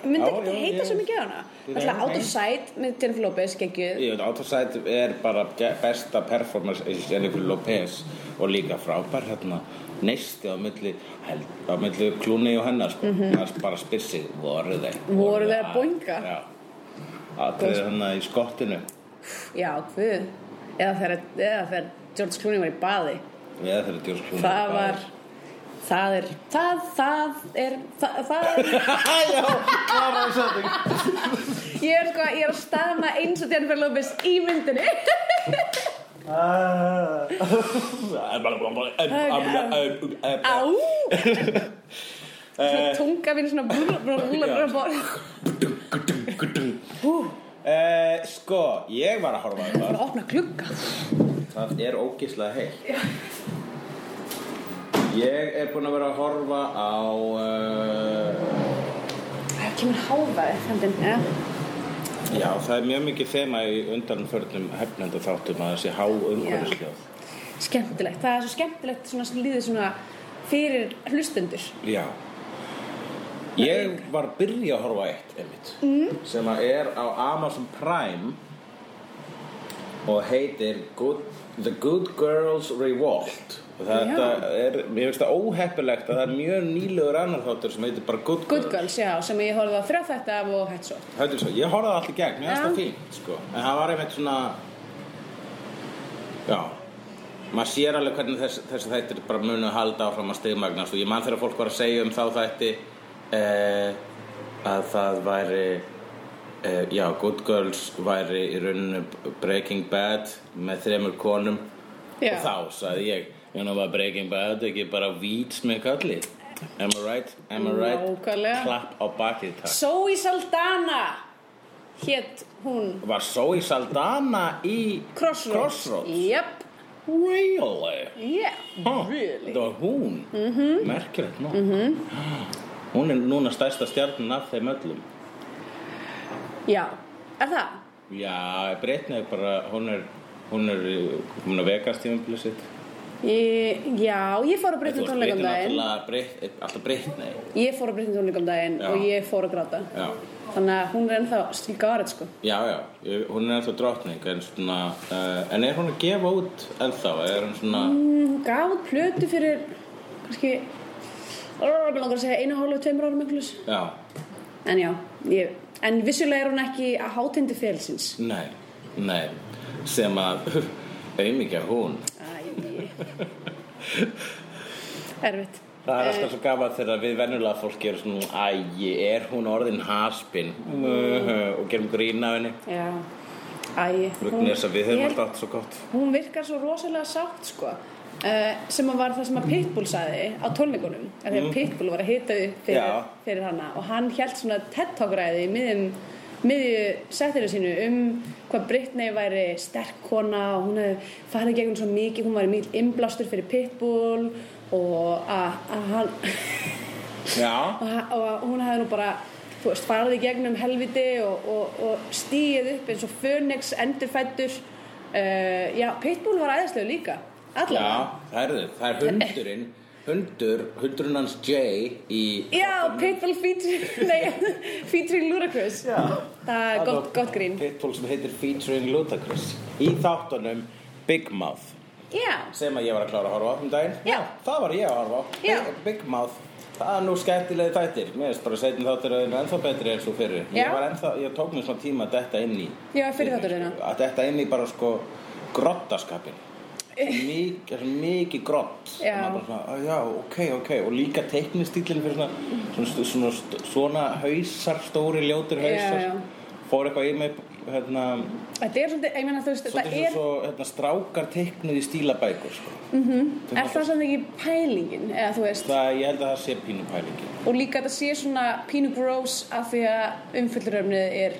S2: myndi
S3: Já,
S2: ekki
S3: já,
S2: heita
S3: ég-
S2: svo mikið á hana
S3: Ég-
S2: alltaf Out of Sight með Jennifer Lopez geggjuð
S3: ég veit, Autosæt er bara ge- besta performance í Jennifer Lopez og líka frábær hérna neisti á milli, held, á milli klúni og hennar sko, það er bara spyrsið voru þeir
S2: Mhm. Voru þeir að boinga?
S3: Já, aðrið hérna í skottinu
S2: já, guð eða þegar, eða þegar George Clooney var í baði
S3: við eða þeirra djúrsklúni
S2: það var það er það, það er það, það er
S3: Já, kláraði setning
S2: ég er sko, ég er að staðna eins og Jennifer Lopez í myndinni
S3: Eh,
S2: á
S3: Á
S2: svona tunga mín svona brúla, brúla, brúla, brúla, brúla.
S3: Eh, Sko, ég var að horfa á
S2: bara
S3: það
S2: að opna klukka
S3: Það er ógislega heitt Ég er búinn að vera að horfa á uh,
S2: það kemur háfaði þannig ja.
S3: Já, það er mjög mikið þema í undanförnum hefnendu þáttum að þessi há umhverfisljóð
S2: skemmtilegt, það er svo skemmtilegt svona sem líður svona fyrir hlustendur
S3: Já Ég var að byrja að horfa á eitt einmitt, mm. sem að er á Amazon Prime og heitir Good, The Good Girls Revolt og þetta er, mér finnst það óheppilegt að það er mjög nýlegur annar þáttur sem heitir bara Good Girls
S2: Good Girls, já, sem ég horfði á þrjá þetta af og hætt svo
S3: Þetta er svo, ég horfði það allt í gegn, mér finnst
S2: Já.
S3: það fínt sko. En það var einmitt svona Já Maður sér alveg hvernig þess, þessi þættir bara munu halda áfram að stigmagnast og ég man þegar fólk var að segja um þá þætti eh, að það væri eh, Já, Good Girls væri í rauninu Breaking Bad með þremur konum
S2: Já.
S3: og þá sagði ég You know about Breaking Bad, ekki bara víts með kalli Am I right? Am I right?
S2: Nákvæmlega.
S3: Klapp á bakið takk
S2: Zoe Saldana hétt hún
S3: Var Zoe Saldana í
S2: Crossroads
S3: Crossroads?
S2: Jöp,
S3: Really?
S2: yeah,
S3: Huh,
S2: really Mhm.
S3: Það var hún? Mm -hmm. Merkilegt nú. Mm -hmm. Hún er núna stærsta stjarnin af þeim öllum.
S2: Já, er það?
S3: Já, Britney er bara, hún er, hún er komin að vegast í umbyrðu sitt.
S2: Ég, já, ég fór að breyta um
S3: Þú veist,
S2: tónleikum
S3: Britney
S2: daginn
S3: náttúrulega Brit- eh, alltaf Britney.
S2: Ég fór að breyta um tónleikum daginn
S3: Já.
S2: og ég fór að gráta
S3: Já,
S2: Þannig að hún er ennþá stíkarið sko
S3: já, já. Ég- Hún er ennþá drottning, en svona, uh, en er hún að gefa út ennþá? Er hún svona,
S2: Mm, Hún gaf út plötu fyrir kannski oh, langar að segja einu og hálfu, tveimur árum einhvers
S3: já,
S2: en já, ég, en vissulega er hún ekki að hátindi félsins
S3: nei, nei, sem að, auðmikið hún.
S2: Æ, erfitt
S3: Það er alltaf svo gaman þegar við venjulega fólk gerum svona Æ, er hún orðin haspin?
S2: Mm.
S3: Og gerum grín af henni
S2: Já. Æ.
S3: Vegna þess að við höfum
S2: ég-
S3: alltaf allt svo gott
S2: Hún virkar svo rosalega sátt, sko. Uh, sem að var það sem að Pitbull saði á tónleikunum af því að Pitbull var að hita upp fyrir,
S3: Já.
S2: fyrir hana og hann held svona TED-talkræði í miðjum miðju setinu sínu um hvað Britney væri sterk kona og hún hefði farið gegn svo mikið hún væri mikil innblástur fyrir Pitbull og að að hann
S3: Já
S2: og, ha- og hún hefði nú bara þú veist, farið í gegnum helviti og, og, og stíið upp eins og Phoenix endurfættur uh, já, Pitbull var æðislega líka allavega
S3: Já, herðu, það er hundurinn Hundur, hundurinn hans Jay í
S2: Já, Pitbull featuring, nei, featuring Ludacris Það er gott, gott grín
S3: Pitbull sem heitir Featuring Ludacris Í þáttunum Big Mouth
S2: Já,
S3: sem að ég var að klára að horfa á um daginn
S2: Já.
S3: það var ég að horfa á
S2: Já.
S3: Big- Big Mouth það er nú skemmtilegi þættir mér finnst bara setjum þáttir að það er ennþá betri eins og fyrir
S2: Já.
S3: ég, var ennþá, ég tók mér svona tíma að detta inn í
S2: Já, fyrri þátturinn, já.
S3: að detta inn í bara sko grottaskapin mikið, mikið grott
S2: Já.
S3: Og maður bara svona, "Á, já, ok, ok og líka teiknistílinn fyrir svona svona, stu- svona, svona, svona hausar stóri ljótur
S2: Já,
S3: hausar
S2: já.
S3: fór eitthvað í mig hérna,
S2: þetta er svolítið, ég meina þú veist,
S3: Svolítið
S2: þetta
S3: er...
S2: er,
S3: svo hérna, strákar teiknuð í stílabækur sko.
S2: er það samt ekki pælingin, eða þú veist
S3: það, Ég held að það sé pínu pælingi
S2: Og líka þetta sé svona pínu gross af því að umfylluröfnið er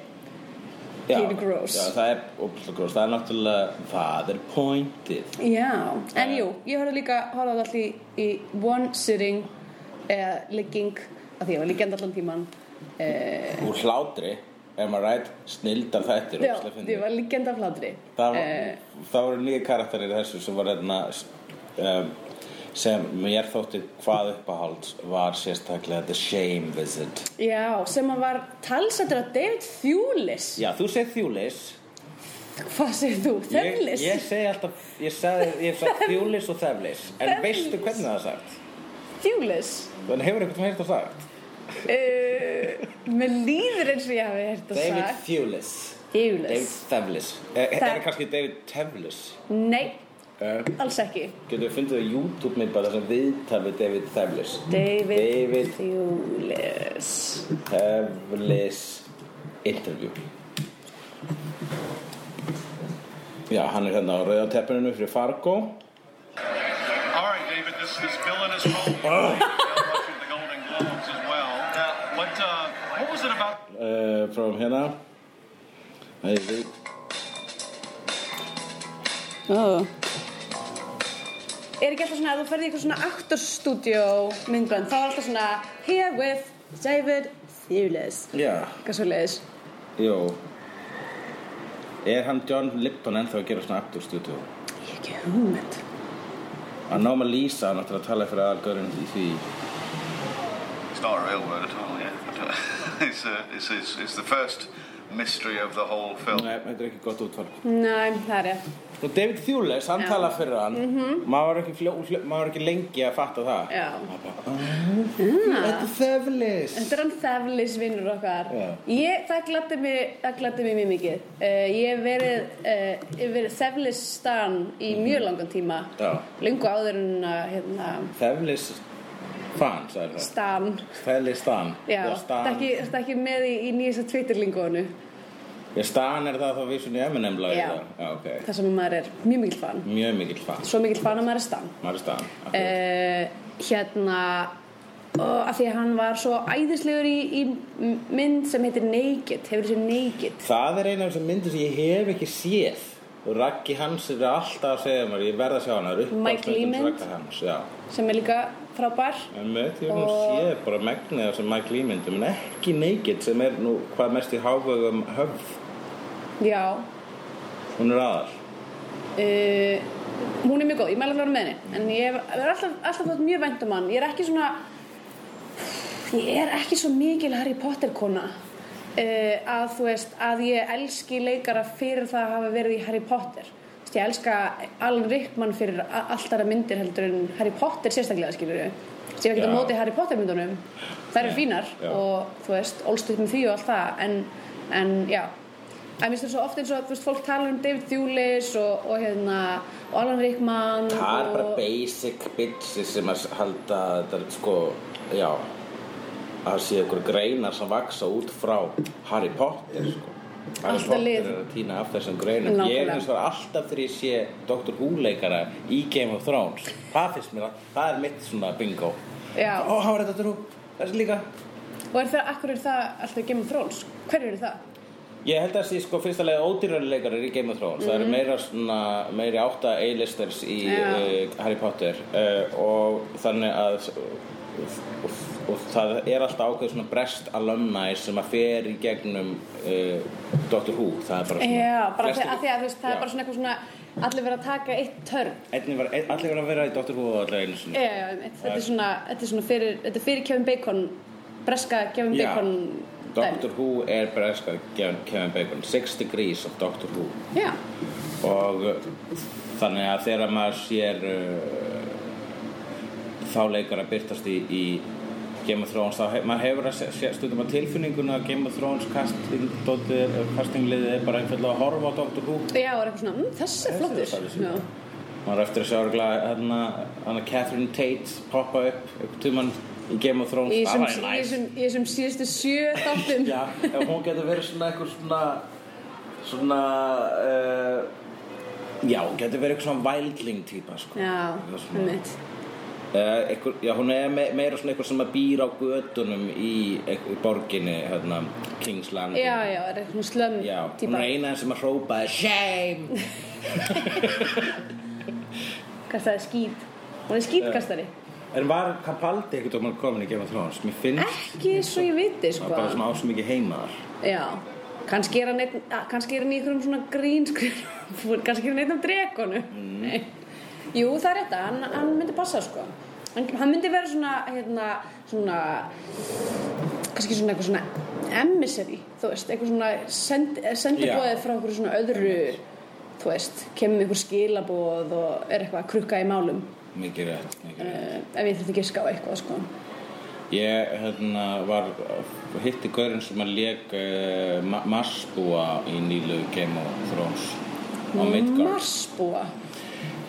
S2: Pínu gross.
S3: já, Það er óbúslega gross Það er náttúrulega, það er pointið
S2: Já, en
S3: Eh.
S2: jú, ég horfði líka, horfði á það allir í one sitting eða legging, af því ég var liggjandi allan tíman eh,
S3: Úr hlátri, ef maður rætt snildar þættir
S2: Já,
S3: ógeðslega fyndið.
S2: ég var liggjandi af hlátri
S3: Það, var,
S2: Eh,
S3: það voru nýja karakterir í þessu sem var hérna um, sem mér þótti hvað uppáhalds var sérstaklega The Shame Visit
S2: Já, sem að var talsættur að David Thewlis
S3: Já, þú segir þjúlis
S2: Hvað segir þú? Thewlis?
S3: Ég, ég segi alltaf, ég sagði, ég sagði þjúlis og þeflis En
S2: Þeflis.
S3: veistu hvernig það er sagt?
S2: Thewlis?
S3: Þannig hefur eitthvað hér það sagt?
S2: Uh, mér líður eins og ég hafi hert að
S3: David
S2: sagt
S3: Thewlis David
S2: Thewlis
S3: Thewlis Er er
S2: Þe-
S3: það kannski David Tevlis?
S2: Nei,
S3: Uh,
S2: alls ekki
S3: getur við fundið á YouTube mynd bara sem viðtal við David Tevlis
S2: David,
S3: David
S2: Thewlis
S3: Tevlis Interview Já, hann er hérna á rauðateppinu fyrir Fargo
S5: All right, David, this, this villainous role you played fell much with the Golden Globes as well. Now, what, uh, what was it about
S3: uh, frá hérna Nei, við-
S2: oh. Er ekki alltaf svona að þú ferði í eitthvað svona aktorstúdíó myndbönd þá er alltaf svona Here with David Thewlis
S3: Já,
S2: Eitthvað svo leiðis
S3: jú Er hann John Lipton ennþá að gera svona aktorstúdíu?
S2: Ég hef ekki hugmynd
S3: Að náma Lisa, hann ætlar að tala fyrir aðalgörinn í því
S5: It's not a real word at all, yeah. But, uh, it's, uh, it's, it's, it's the first mystery of the whall film.
S3: Nei, þetta er ekki gott útfall
S2: Næ, það er rétt
S3: Og David Thewlis, hann
S2: Já. Mhm.
S3: talar fyrir hann maður, var ekki fljó, fljó, maður var ekki lengi að fatta það
S2: Já.
S3: Maður bara, "Ah, Þetta er Thewlis
S2: Þetta er hann þeflis vinnur okkar.
S3: Já.
S2: Ég, það gladdi mig, það gladdi mig mjög mikið. Uh, ég hef verið, uh, ég hef verið þeflis stan í mjög langan tíma.
S3: Mhm. Já.
S2: Lungu áður en að, hérna,
S3: Thewlis fan, sagði það
S2: stan.
S3: Thewlis Stan
S2: Já,
S3: Stan,
S2: þetta ekki, þetta ekki með í, í nýjasta Twitter-lingónu.
S3: Já, Stan er það þá vísun í Eminem lagið
S2: Já.
S3: það. Já, ok
S2: Það sem maður er mjög mikill fan.
S3: Mjög mikill fan
S2: Svo mikill fan að maður er stan.
S3: Maður er Stan akkurat.
S2: Uh, hérna, ó, af því að hann var svo æðislegur í, í m- mynd sem heitir Naked. Hefur þessi Naked?
S3: Það er eina af þessum myndir sem ég hef ekki séð og Raggi Hans er alltaf að segja mér ég verð að sjá hana Það er
S2: Mike
S3: uppáhaldsmyndin hans
S2: Lehman.
S3: Ragga Hans, já
S2: Sem er líka frábær.
S3: En með því að hún sé bara megnið af þessum Mike Límyndum en ekki Naked sem er nú hvað mest í hávögum höfð
S2: Já,
S3: hún er aðal
S2: uh, hún er mjög góð, ég mæla alveg með henni en ég hef- hef alltaf, alltaf þótt mjög vænt um hann ég er ekki svona ég er ekki svo mikil Harry Potter kona uh, að þú veist að ég elski leikara fyrir það að hafa verið í Harry Potter Þú veist, ég elska Alan Rickman fyrir a- allt aðra myndir heldur en Harry Potter sérstaklega skilur við ég hef ekki
S3: Já.
S2: að móti Harry Potter myndunum það eru
S3: Nei,
S2: fínar
S3: já.
S2: og þú veist, ólst upp með því og allt það en, en já En mér finnst það svo oft eins og, þú veist, fólk tala um David Thewlis og, og hérna, og Alan Rickman
S3: Það er bara
S2: og...
S3: basic bitches sem að halda að þetta er sko, já að það sé ykkur greinar sem vaksa út frá Harry Potter sko. Harry
S2: Alltaf
S3: Potter
S2: lið.
S3: er að týna af þessum greinum Ég er
S2: Nákvæmlega.
S3: eins og alltaf þegar ég sé Dr. Who-leikara í Game of Thrones Það finnst mér að, það er mitt svona bingo
S2: Já.
S3: Ó, hann var þetta Dr. Who, þessi líka
S2: Og er það, akkur er það alltaf Game of Thrones? Hver eru það?
S3: Ég held að það sé sko fyrsta lega ódýrarleikar er í Game of Thrones. Það eru meira svona, meiri átta A-listers í
S2: Mhm. Já.
S3: uh, Harry Potter uh, og þannig að og, og, og það er alltaf ákveð svona brest alumni sem að fer í gegnum uh, Doctor Who. Það er bara svona.
S2: Já, bara
S3: flestir-
S2: því að, því að þú veist, það
S3: Já.
S2: er bara svona eitthvað svona, allir verið að taka eitt törn.
S3: Einnig var, ein, allir verða að vera í Doctor Who og allir einu sinni.
S2: Já, já, einmitt. þetta er svona, þetta er svona fyrir, þetta er fyrir Kevin Bacon, breska Kevin
S3: Já.
S2: Bacon
S3: Doctor Who er breska Kevin Kevin Bacon. Six Degrees of Doctor Who.
S2: Já,
S3: og uh, þannig að þegar maður sér uh, þá leikar að byrtast í, í Game of Thrones þá hef, maður hefur að se- se- stundum að tilfinninguna að Game of Thrones casting- dótið- castingliðið er bara einfallega að horfa á Doctor Who
S2: já, og er eitthvað svona, mmm, þessi er
S3: Þessi er sko.
S2: flottur.
S3: flottur.
S2: Já,
S3: maður er eftir að sjá örugglega hérna hérna Catherine Tate poppa upp upp tíman í Game of Thrones
S2: Í
S3: það
S2: þessum-
S3: væri
S2: í
S3: næs.
S2: þessum í þessum síðustu sjö þáttum.
S3: Já, ef hún getur verið svona eitthvað svona svona uh, já, hún getur verið eitthvað svona vældling típa sko.
S2: Já,
S3: Eitthvað svona-
S2: einmitt.
S3: Eh, Einhver, já, hún er me meira svona eitthvað sem að býr á gödunum í einhver, borginni, hérna, Kingsland.
S2: Já, já, er eitthvað svona slömm
S3: Já, hún
S2: típa.
S3: er eina sem að hrópa, shame!
S2: Kastaði skít. Hún er skítkastari.
S3: En var Capaldi ekkert um að komin í Game of Thrones? Mér finnst
S2: Ekki svo ég viti,
S3: það bara
S2: sko.
S3: svona á svo mikið heima þar.
S2: Já. Kannski er hann einn, að, kannski er hann í einhverjum svona grínskrifu, kannski er hann einn af dregonu. Nei. Jú, það er rétt að hann, hann myndi passa, sko. Hann, hann myndi vera svona, hérna, svona, kannski svona eitthvað svona emissary, þú veist, eitthvað svona send, sendibóðið
S3: Já.
S2: frá einhverju svona öðru, þú veist, kemur með einhver skilabóð og er eitthvað að krukka í málum.
S3: Mikið rétt, mikið rétt.
S2: Uh, ef ég þurfti ekki að ská eitthvað, sko.
S3: Ég, hérna, var, hitti gaurinn sem að leik uh, ma Marsbúa í nýlu Game of Thrones á Midgard.
S2: Marsbúa.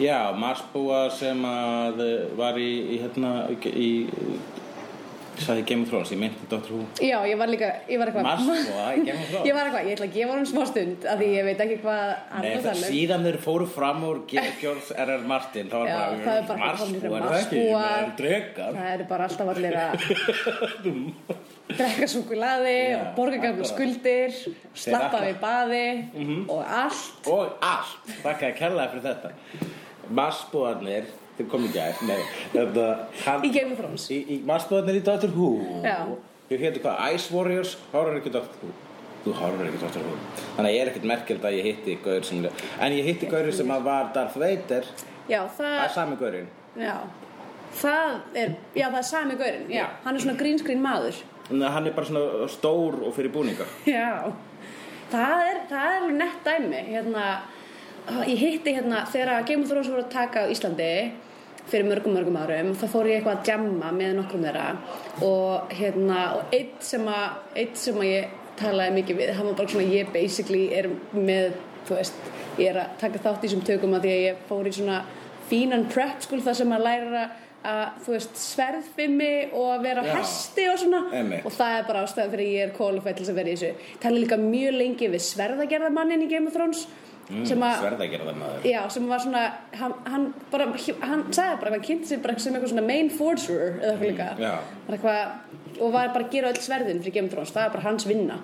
S3: Já, Marsbúa sem að eh, var í, í hérna, í, ég sagði Game of Thrones, ég myndi Dr. Who.
S2: Já, ég var líka, ég var eitthvað
S3: Marsbúa í Game of Thrones.
S2: Ég var eitthvað, ég ætla að gefa hún smá stund af því ég veit ekki hvað
S3: Nei,
S2: annað
S3: það,
S2: tala um.
S3: síðan þeir fóru fram úr George R.R. Martin, þá var
S2: Já,
S3: bara,
S2: það er bara komnir að
S3: Marsbúa, er það ekki,
S2: Marsbúa.
S3: það er drekar.
S2: Það eru bara alltaf allir að drekka súkulaði og borga gangum skuldir slappa
S3: Þeir Mhm.
S2: við baði og allt
S3: Og allt, þakkaði kærlega fyrir þetta. Marsbúarnir, þeir komið gæð, nei, þetta, hann,
S2: í Game of Thrones
S3: í, í Marsbúarnir í Dr. Who.
S2: Já.
S3: Ég hétu hvað, Ice Warriors, horfður ekki Dr. Who. Þú horfður ekki Dr. Who. Þannig að ég er ekkert merkjöld að ég hitti gaur sem, en ég hitti gaur sem að var Darth Vader,
S2: Já,
S3: það er
S2: það,
S3: sami gaurinn.
S2: já Það er, já það er sami gaurinn, já,
S3: Já.
S2: hann er svona grínskrín maður
S3: En hann er bara svona stór og fyrir búninga.
S2: Já, það er, það er alveg nett dæmi. Hérna, ég hitti hérna þegar Game of Thrones voru að taka á Íslandi fyrir mörgum mörgum árum þá fór ég eitthvað að jamma með nokkrum þeirra og hérna og eitt sem að, eitt sem að ég talaði mikið við, hann var bara svona ég basically er með, þú veist ég er að taka þátt í þessum tökum að því að ég fór í svona fínan prep skul þar sem að læra að, þú veist, sverðfimi og að vera á
S3: Já.
S2: hesti og svona
S3: Einmitt.
S2: og það er bara ástæðan fyrir að ég er qualified til þess að vera í þessu tala líka mjög lengi við sverðagerðamannin í Game of Thrones
S3: Mm,
S2: sem að
S3: Sverða að gera það maður.
S2: Já, sem var svona, hann, hann bara, hann sagði bara, hann kynnti sig bara sem eitthvað svona main forgerer eða eitthvað líka.
S3: Mm, já.
S2: Bara eitthvað, og var bara að gera öll sverðin fyrir Game of Thrones, það var bara hans vinna.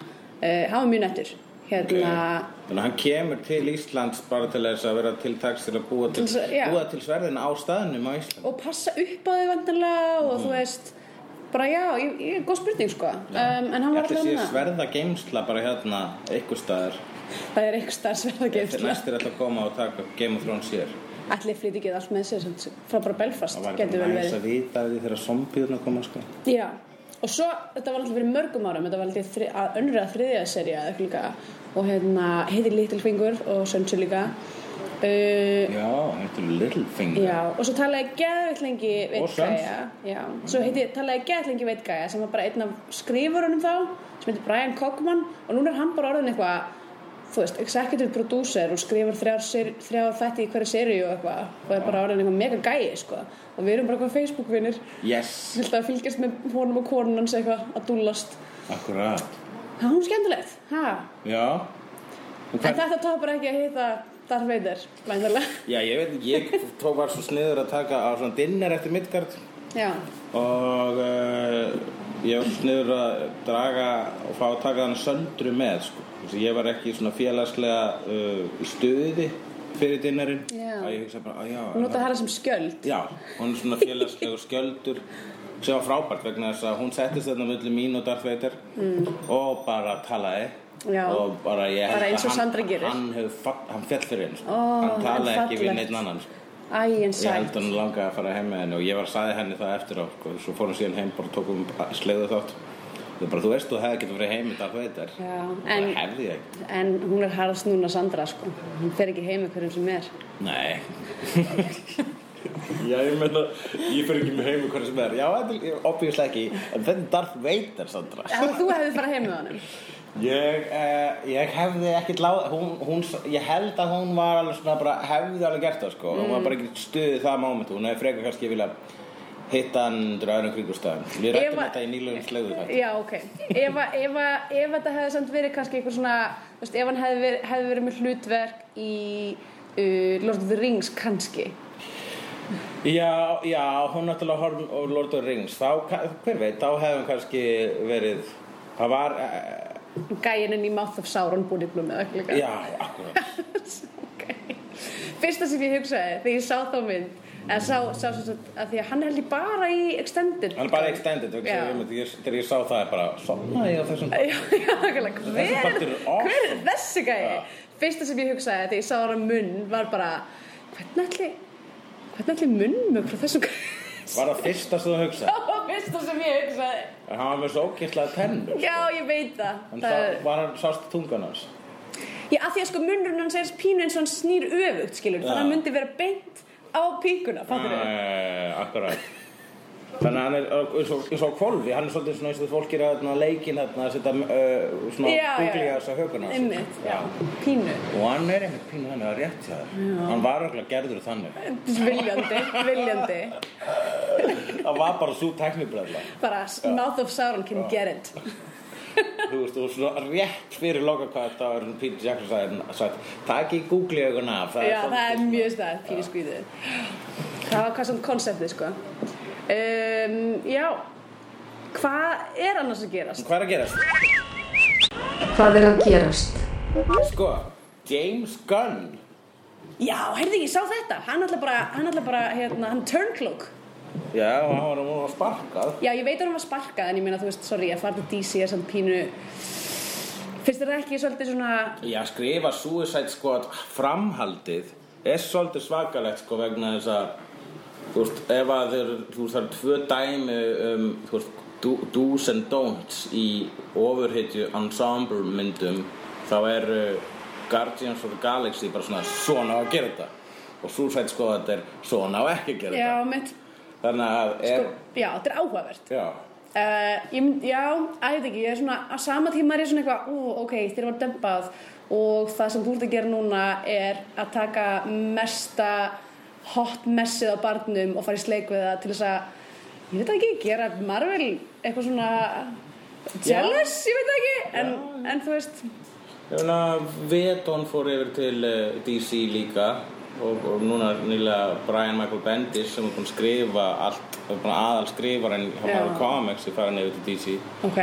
S2: Uh, hann var mjög nettur, hérna,
S3: Þannig að hann kemur til Íslands bara til þess að vera tiltaks til að búa til,
S2: Til þess að- já.
S3: búa til sverðin á staðnum á Ísland.
S2: og passa upp á þau vantanlega og
S3: Mm.
S2: þú veist, bara já, ég, ég, góð spurning sko. Um, en hann var
S3: Þetta
S2: alltaf
S3: sé
S2: hann
S3: sverða geimsla bara hérna einhver staðar.
S2: það er eitthvað starf sverðageðsla.
S3: Næstir ætla að koma og taka upp Game of Thrones hér.
S2: Allir flytti ekki allt með sér samt, frá bara Belfast,
S3: Það var
S2: getur vel
S3: bara næst
S2: verið.
S3: að vita af því þegar zombiðurna koma sko.
S2: Já, og svo, þetta var alltaf fyrir mörgum árum, þetta var alltaf þri, að önnur að þriðja serja eða eitthvað líka. Og hérna, heitir Little Finger og Sönsu líka. Uh,
S3: Já, þetta er Littlefinger.
S2: já, og svo talaði ég geðveitt lengi
S3: Og
S2: veit
S3: Sönsu.
S2: gæja. Já, svo heiti, talaði ég geðveitt lengi veit gæja sem var bara einn af skrifurunum þá, sem heitir Brian Cogman og núna er hann bara orðin eitthvað þú veist, executive producer og skrifar þrjár, seri- þrjár þætti í hverju seríu og eitthvað og er bara orðin eitthvað mega gæi sko. og við erum bara eitthvað Facebook-vinnir
S3: Yes,
S2: held að fylgjast með honum og konun hans eitthvað að dúllast
S3: akkurat
S2: það er hún skemmtilegt ha?
S3: Já En
S2: en
S3: hvað-
S2: þetta topar ekki að hitta Darth Vader væntanlega.
S3: Já, ég veit ekki, ég tók var svo sniður að taka á svona dinner eftir Midgard
S2: já,
S3: og uh, ég var svo sniður að draga og fá að taka hann söndru með sko. Þessi, ég var ekki svona félagslega uh, í stuði fyrir dinnerinn
S2: Já.
S3: og ég hugsa bara, að já
S2: hún nota hana sem skjöld
S3: Já, hún er svona félagslegur skjöldur sem var frábært vegna þess að hún settist þarna völdu mín og Darth Vader og bara talaði
S2: Mm. Já.
S3: og bara ég held
S2: Bara eins og
S3: að hann-
S2: Sandra gerir.
S3: hann, hef, hann fjall fyrir henn sko.
S2: Ó,
S3: hann talaði
S2: en
S3: ekki við
S2: fallegt.
S3: neitt annan sko.
S2: æ, en
S3: ég held
S2: sætt
S3: að hann langaði að fara heim með henni og ég var að sagði henni það eftir á sko. svo fór hann síðan heim bara og tókum sleiðu þátt Ég bara, þú veist þú hefði getið fyrir heim með Darth Vader
S2: Já,
S3: það
S2: en-
S3: hefði ég ekki
S2: en hún er harðast núna Sandra sko. hún fer ekki heim með hverjum sem er
S3: Nei Já, ég meina, ég fyrir ekki með heim og hvernig sem er Já, þetta er obvíðislega ekki En þetta er Darth Vader, Sandra
S2: ef þú hefði farað heim með honum
S3: Ég, eh, ég hefði ekkert láð hún, hún, Ég held að hún var alveg svona bara Hefði alveg gert það, sko Hún var bara ekki stuðið það moment Hún hefði frekar kannski vilja hitta hann undir öðrum kringustæðum Við rættum
S2: Ef að-
S3: þetta í nýlegum slegðu þetta
S2: Já, ok. Ef, að- ef, að- ef þetta hefði samt verið kannski eitthvað svona, þú veist, ef hann hefði verið, hefði verið með hlutverk í uh, Lord of the Rings kannski.
S3: Já, já, hún náttúrulega horfum og Lord of the Rings Þá, ka- hver veit, þá hefði hún kannski verið Það var, eh,
S2: Gæinin í Mouth of Sauron búningnum eða eitthvað líka.
S3: já, akkurat
S2: ok. Fyrsta sem ég hugsaði þegar ég sá þá mynd, eða sá, sá sem sagt, að því að hann er held ég bara í Extended.
S3: Hann er bara extended, þú
S2: Já.
S3: veist, ég, ég, þegar ég sá það er bara Sofnaði ég á þessum
S2: Já, já, okkarlega,
S3: Þessi
S2: hver,
S3: partur er awesome.
S2: hver er þessi gæi?
S3: Já.
S2: Fyrsta sem ég hugsaði þegar ég sá hana munn var bara, hvernig ætli, hvernig ætli munn með frá þessum gæi?
S3: Var það fyrsta sem þú hugsaði
S2: Það var fyrsta sem ég hugsaði.
S3: En hann var með svo ókýrslega tennur
S2: Já, ég veit það.
S3: En
S2: það
S3: það
S2: er...
S3: var hann sást tungan hans
S2: Já, að því að sko munurinn hans er pínu eins og hann snýr öfugt, skilur.
S3: Já.
S2: Þannig að hann myndi vera beint á píkuna, fattur þau?
S3: Æ, Eh, Akkurat Þannig að hann er uh, eins og- eins og kvolfi Hann er svolítið svona eins og fólk er að þarna, leikinn þarna að setja uh, svona googli að þessa hökuna á sér.
S2: Einmitt, já. Pínu.
S3: Og hann er einmitt pínu þannig að rétt hjá þér Hann var okkur gerður þannig
S2: Viljandi, viljandi.
S3: Það var bara svo teknibrella
S2: Bara, mouth of Sauron can get it.
S3: Þú veist, og svona rétt fyrir lokakvæð þá er hún Peter Jackson sagði, sagði takk í Google augun af það
S2: Já, það er
S3: svolítið-
S2: mjög stæð, pínu skvíðið. Það var hvað samt konceptið, sko. Um, já, hvað er annars að gerast?
S3: Hvað er að gerast?
S4: Hvað er að gerast?
S3: Sko, James Gunn
S2: Já, heyrðu, ég sá þetta. Hann ætla bara, hann ætla bara, hérna, hann turncloak.
S3: Já, og hann var að múna sparkað
S2: Já, ég veit að hún var sparkað en ég meina, þú veist, sorry, að fara til DC er samt pínu Finnst þér það ekki svolítið svona
S3: Já, skrifa Suicide Squad framhaldið er svolítið svakalegt sko vegna þess að þú veist, ef að þeir, þú veist, það eru tvö dæmi um, þú veist, do- do's and don'ts í ofurhitju ensemble myndum þá er uh, Guardians of the Galaxy bara svona svona á að gera þetta og Suicide Squad er svona á ekki að gera
S2: Já, mitt,
S3: þetta þannig að
S2: sko,
S3: er,
S2: já, þetta er áhugavert
S3: já,
S2: uh, ég, mynd- Já, að ég veit ekki, ég er svona á sama tíma er ég svona eitthvað, ú, ok, þér var dempað og það sem þú ert að gera núna er að taka mesta hot messið á barnum og fara í sleik við það til þess að ég veit það ekki, gera Marvel eitthvað svona jealous, ég veit það ekki en, en þú veist,
S3: Ég meina, Veton fór yfir til eh, DC líka og, og núna er nýlega Brian Michael Bendis sem er búinn að skrifa allt, er búinn aðal skrifar en hann
S2: Já.
S3: var komiks í farin yfir til DC.
S2: ok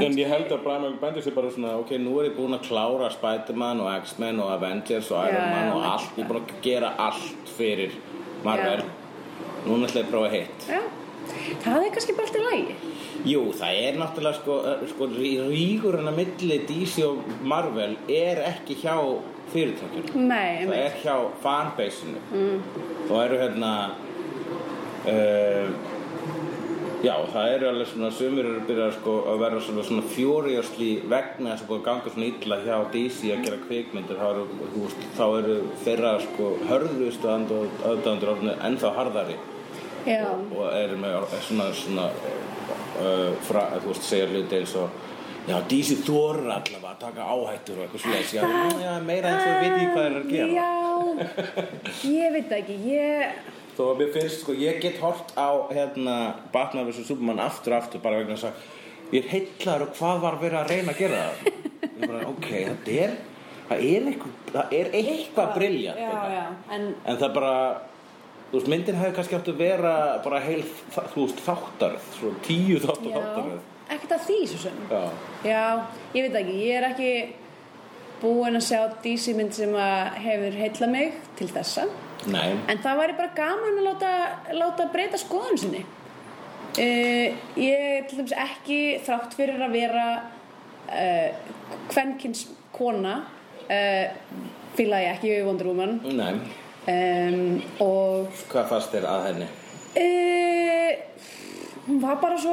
S3: En ég held að Brian Michael Bendis er bara svona, ok, nú er ég búinn að klára Spider-Man og X-Men og Avengers og Iron
S2: Já,
S3: Man
S2: já,
S3: og
S2: já.
S3: allt, ég er búinn að gera allt fyrir Marvel.
S2: Já.
S3: Núna ætla ég að prófa hitt.
S2: Já, það er kannski bara allt í lagi.
S3: Jú, það er náttúrulega sko, eh, sko rí- rígurinn að milli DC og Marvel er ekki hjá fyrirtækjunum.
S2: Nei,
S3: það
S2: einmitt.
S3: er hjá fanbase-inu og eru hérna uh, já, það eru alveg svona sumir eru að byrja sko, að vera svona, svona furiously vegna þess að búið að ganga svona illa hjá DC að gera kvikmyndir þá eru, þú veist, þá eru þeirra sko hörðustu aðdöndur ennþá harðari
S2: já,
S3: eh, og eru með svona, svona uh, fra, þú veist, segja hluti eins og já, Dísi þorir allavega að taka áhættur og eitthvað svoleiðis já, nú, já, meira eins og við viti hvað þeir eru að gera
S2: Já, ég veit það ekki, ég...
S3: Þó að mér finnst, sko, ég get hort á hérna, Batman vs. Superman aftur og aftur bara vegna þess að ég er heillar og hvað var verið að reyna að gera það ég bara, ok, þetta er það er eitthvað, það er eitthvað briljant
S2: Já, já, en
S3: en það bara þú veist, myndin hefði kannski átt að vera bara heil, þa- þú veist, þáttarð svo tíu þátt og
S2: já,
S3: þáttarð
S2: ekkert að því svo sem.
S3: já,
S2: Já, ég veit það ekki, ég er ekki búin að sjá DC mynd sem að hefur heilla mig til þessa
S3: nei
S2: en það væri bara gaman að láta, láta breyta skoðun sinni uh, ég til dæmis ekki þrátt fyrir að vera uh, kvenkins kona uh, fíla ég ekki við Wonder Woman
S3: nei,
S2: um, og
S3: hvað fannst þér að henni?
S2: Eh, hún var bara svo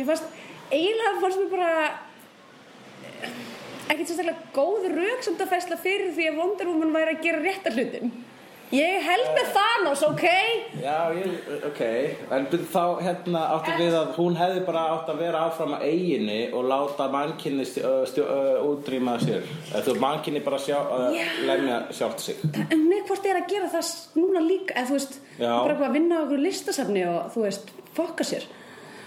S2: mér fannst, eiginlega fannst mér bara eh, ekkert sérstaklega góð röksamtafæsla fyrir því að Wonder Woman væri að gera rétta hlutin ég held með Thanos, ok?
S3: Já, ég, ok, en byrju, þá hérna áttu við að hún hefði bara átt að vera áfram að eiginni og láta mannkinni stjó, stjó, uh, útrýma sér. Eða Þú mannkinni bara sjá, uh,
S2: Já.
S3: lemja sjálft sig.
S2: en hún er hvort er að gera það s- núna líka eða þú veist,
S3: Já.
S2: bara eitthvað að vinna á okkur listasafni og þú veist, fokka sér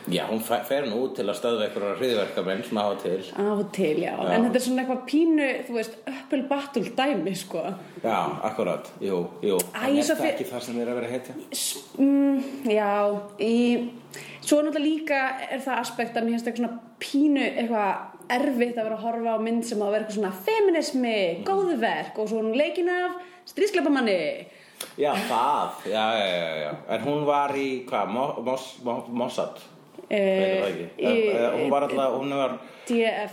S3: Já, hún fe- fer nú út til að stöðva einhverja hriðverkamenn sem hafa til.
S2: á og til, já,
S3: Já.
S2: en þetta er svona eitthvað pínu þú veist, öppul battul dæmi sko,
S3: Já, akkurat, jú, jú.
S2: Æ,
S3: en er
S2: svo
S3: það
S2: fyr-
S3: ekki það sem er að vera hetja?
S2: S- Mm, já, í, svo náttúrulega líka er það aspekt að mér finnst eitthvað svona pínu eitthvað erfitt að vera að horfa á mynd sem á að vera eitthvað svona feminismi, góðu verk og svo er hún leikin af stríðskleipamanni.
S3: Já, það, já, já, já, já. En hún var í, hvað, Mo- Mos- Mo- Mossad? Veitum það ekki.
S2: eh, í- E
S3: Eh, eh, Hún var alltaf, hún var,
S2: DF.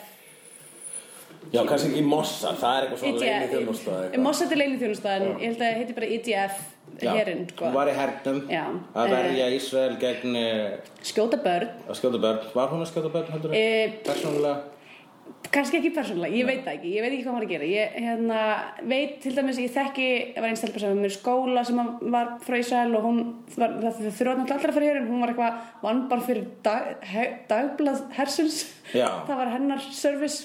S3: já, kannski ekki Mossad, það er
S2: E
S3: eitthvað svona leini þjónustöð.
S2: Mossad er leini þjónusta en ég held að það heiti bara E IDF
S3: Já,
S2: hérinn, sko.
S3: Hún var í hernum
S2: Já.
S3: að verja Ísrael gegn eh,
S2: Skjóta börn,
S3: að skjóta börn. Var hún að skjóta börn heldur þú?
S2: Eh,
S3: Persónulega?
S2: kannski ekki persónulega, ég veit það ekki, ég veit ekki hvað hún var að gera. Ég hérna, veit til dæmis, ég þekki, það var einn stelpa sem var mér í skóla sem að var frá Ísrael og hún, var, það þurfa náttúrulega allra fyrir hér en hún var eitthvað vann bara fyrir dag, he, dagblað hersins,
S3: Já.
S2: það var hennar service.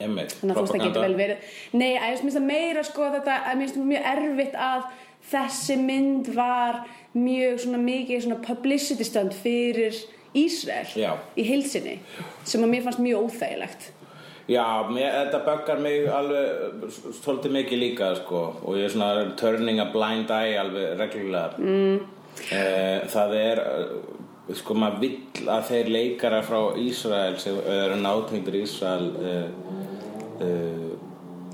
S3: Einmitt.
S2: Þannig að þú veist það getur
S3: propaganda.
S2: vel verið. Nei, að ég finnst það meira sko þetta, að mér finnst mjög erfitt að þessi mynd var mjög svona mikið svona publicity stand fyrir Ísrael
S3: Já.
S2: í heilsinni sem að mér fannst mjög óþægilegt.
S3: Já, mér, þetta böggar mig alveg eh, s- svolítið mikið líka sko og ég er svona turning a blind eye alveg reglulega mm. Það er eh, sko maður vill að þeir leikara frá Ísrael sem eru nátengdur Ísrael uh, uh,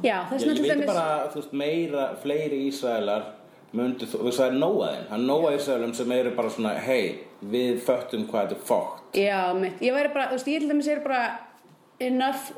S2: Já, þess
S3: Ég
S2: vegna til
S3: veit
S2: dæmis
S3: bara, þú veist, meira, fleiri Ísraelar myndu, þú þú veist, það er nóa þeim það er nóa Ísraelum sem eru bara svona hei, við föttum hvað þetta er fókt
S2: Já, mitt, ég væri bara, þú veist, ég til dæmis er bara enough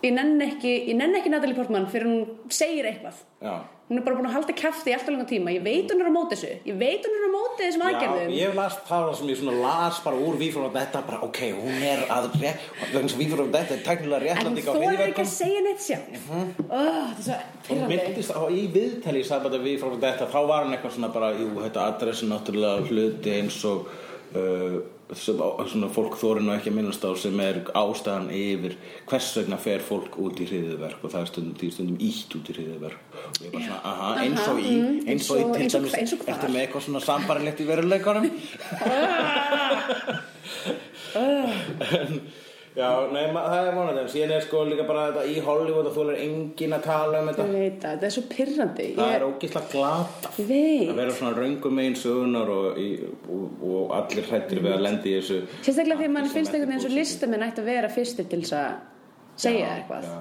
S2: ég nenn ekki, ég nenn ekki Natalie Portman fyrir hún segir eitthvað
S3: Já,
S2: hún er bara búin að halda kæfti í alltaf langa tíma ég veit hún er á móti þessu, ég veit hún er á móti þessum aðgerðum
S3: ég las það sem ég svona las bara úr Vífur og þetta bara, ok, hún er að rétt, vegna sem Vífur og þetta er teknilega
S2: En
S3: réttlanding
S2: þú er ekki að segja neitt sjálf oh, Það er svo
S3: Mhm. Hún
S2: pirrandi
S3: myndist á, í viðtali í sambandi við frá þetta, þá var hann eitthvað svona bara, jú, þetta adressi náttúrulega hluti eins og uh, sem, á- svona fólk þorinn og ekki að minnast á sem er ástæðan yfir hvers vegna fer fólk út í hriðiverk og það er stundum, því stundum ítt út í hriðiverk og ég bara svona, aha, eins og í,
S2: mhm,
S3: eins og í
S2: eins og-
S3: til
S2: eins og-
S3: dæmis,
S2: eins og hvar?
S3: ertu með eitthvað svona sambarilegt í veruleikanum?
S2: Ah.
S3: Já, nei, ma- það er vonandi, en síðan er sko líka bara þetta í Hollywood og þú er engin að tala um þetta.
S2: Ég veit það, það er svo pirrandi
S3: Það er
S2: Ég
S3: ógislega glata.
S2: ég
S3: að
S2: veit
S3: vera svona röngum megin sögunar og, í, og, og allir hrættir við að lendi í þessu
S2: Sérstaklega þegar mann
S3: Allir
S2: finnst
S3: sem
S2: einhvern veginn eins
S3: ekki
S2: og listamenn ætti að vera fyrstir til þess að segja eitthvað
S3: já.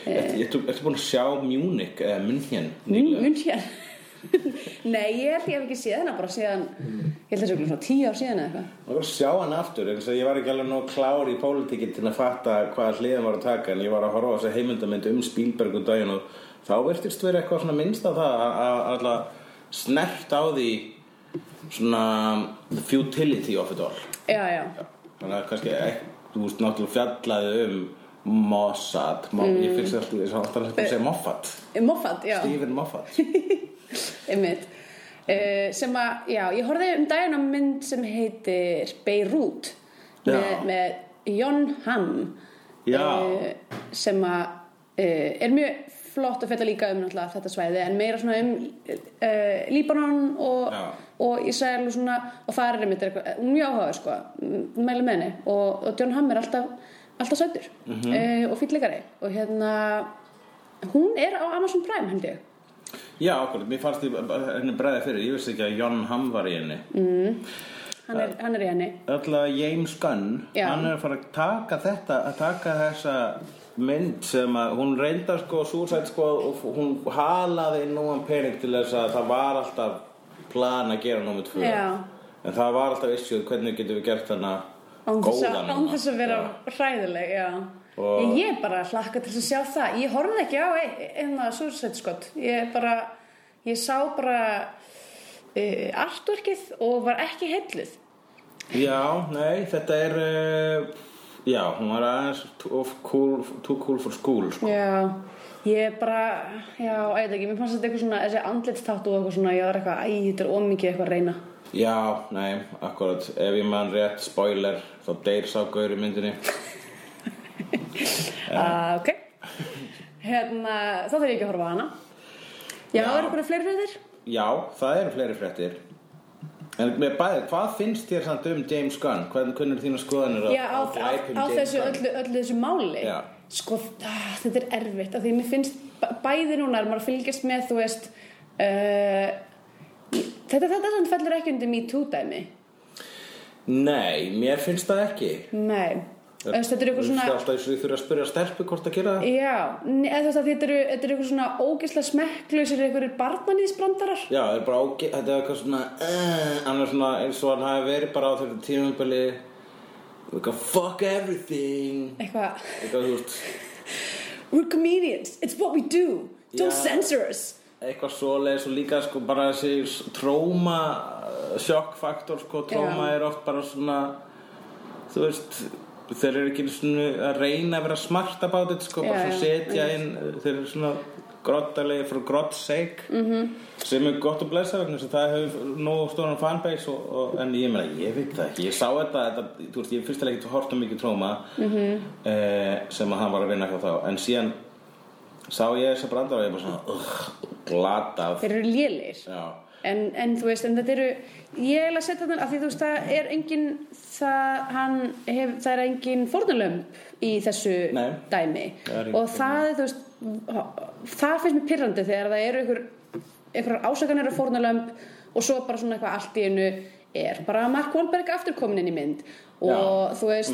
S3: Ertu, ertu, ertu búin að sjá Munich eða München nýlega?
S2: Mun hér Nei, ég held ég hef ekki séð hana bara síðan Ég held þessu okkur svona tíu ár síðan eða eitthvað
S3: Ég var að sjá hann aftur eins og ég var ekki alveg nóg klár í pólitíkinn til að fatta hvað hliðin var að taka en ég var að horfa á þessi heimildamind um Spielberg um daginn og þá virtist verið eitthvað svona minnst á það að- að alltaf snert á því svona the futility of it all
S2: Já, já,
S3: þannig að kannski ek- þú veist náttúrulega fjallaði um Mossad, Mo ég finnst alltaf ég sá alltaf að segja Moffat
S2: Um Moffat, já
S3: Stephen Moffat
S2: einmitt uh, sem að, já, ég horfði um daginn á mynd sem heitir Beirut
S3: Já.
S2: með, með Jon Hamm
S3: Já.
S2: eh, sem að eh, er mjög flott að fjalla líka um náttúrulega þetta svæði en meira svona um uh, Líbanon og,
S3: Já.
S2: og Ísrael og svona og það er einmitt eitthvað, hún er mjög áhuga sko, m- mæli með henni og, og John Hamm er alltaf, alltaf sættur mm
S3: Mhm.
S2: og fýtleikari og hérna hún er á Amazon Prime held ég
S3: Já, okkur, mér fannst því bara henni bregði fyrir, ég vissi ekki að John Hamm var í henni.
S2: hann er, hann er í henni
S3: Öll að James Gunn,
S2: Já.
S3: hann er að fara að taka þetta, að taka þessa mynd sem að hún reyndar sko Suicide Squad og f- hún halaði núan pening til þess að það var alltaf plan að gera nómið tvö.
S2: Já.
S3: En það var alltaf issue, um hvernig getum við gert hana
S2: án þess að,
S3: góðan
S2: án
S3: hana?
S2: þess að vera
S3: Já.
S2: hræðileg já.
S3: Og-
S2: Ég- ég bara hlakka til að sjá það ég horfði ekki á ein- eina súrsætt skott ég bara ég sá bara uh, artverkið og var ekki heilluð
S3: Já, nei, þetta er uh, Já, hún var aðeins too cool, too cool for school sko.
S2: já ég bara, já, ég veit ekki, mér fannst þetta eitthvað svona þessi andlit þáttu og eitthvað svona, ég var eitthvað æ, þetta er ómikið eitthvað að reyna
S3: Já, nei, akkurat Ef ég man rétt, spoiler þá deyr sá gaur í myndinni
S2: uh, ok hérna, þá þarf ég ekki að horfa á hana já, já.
S3: Já.
S2: er eitthvað fleiri fyrir þér?
S3: Já, það eru fleiri fréttir En með bæði, hvað finnst þér samt um James Gunn? Hvernig hvernig eru þína skoðanir
S2: Já, á, á, á þessu öllu, öllu þessu máli
S3: Já.
S2: sko, ah, þetta er erfitt af því mér finnst b- bæði núna er maður að fylgjast með, þú veist uh, þetta, þetta samt fellur ekki undir me too dæmi
S3: Nei, mér finnst það ekki
S2: nei, Þú veist, þetta er eitthvað
S3: Þú veist
S2: svona
S3: alltaf þess að ég þurfa að spyrja stelpu hvort að gera það
S2: já, ne- eða þú veist að þetta eru þetta eru eitthvað svona ógislega smekklausir eitthvað barnaníðsbrandarar
S3: Já, það er bara áge... Þetta er eitthvað svona... Uh, hann er svona eins og hann hafi verið bara á þeirra tímumbili eitthvað fuck everything
S2: eitthvað,
S3: eitthvað, þú veist,
S2: we're comedians, it's what we do don't
S3: Já.
S2: censor us
S3: eitthvað svoleiðis og líka sko bara þessi tróma sjokkfaktor sko tróma
S2: Já.
S3: er oft bara svona þú veist þeir eru ekki svona að reyna að vera smart about it sko, bara
S2: Já,
S3: svona
S2: já,
S3: setja inn eh, þeir eru svona grottalegi fyrir grott sake -hmm.
S2: Mhm.
S3: sem er gott að blessa vegna þess að það hefur nógu stóran fanbase og, og, en ég meina, ég veit það ekki ég sá þetta, þetta þú veist, ég fyrst að ekki horta mikið tróma -hmm.
S2: Mhm.
S3: sem að hann var að reyna eitthvað þá en síðan sá ég þess að branda og ég bara svona ugh, glatað
S2: þeir eru lélir
S3: Já.
S2: en, en þú veist, en þetta eru ég er að setja þetta af því þú veist það er engin það, hann, hef, það er engin fórnulömb í þessu
S3: Nei.
S2: dæmi
S3: Það er engin
S2: og það er þú veist það finnst mér pirrandi þegar það eru einhver, einhverjar ásakanir af fórnulömb og svo bara svona eitthvað allt í einu er bara Mark Wahlberg aftur komin inn í mynd og
S3: Já. Mhm.
S2: þú veist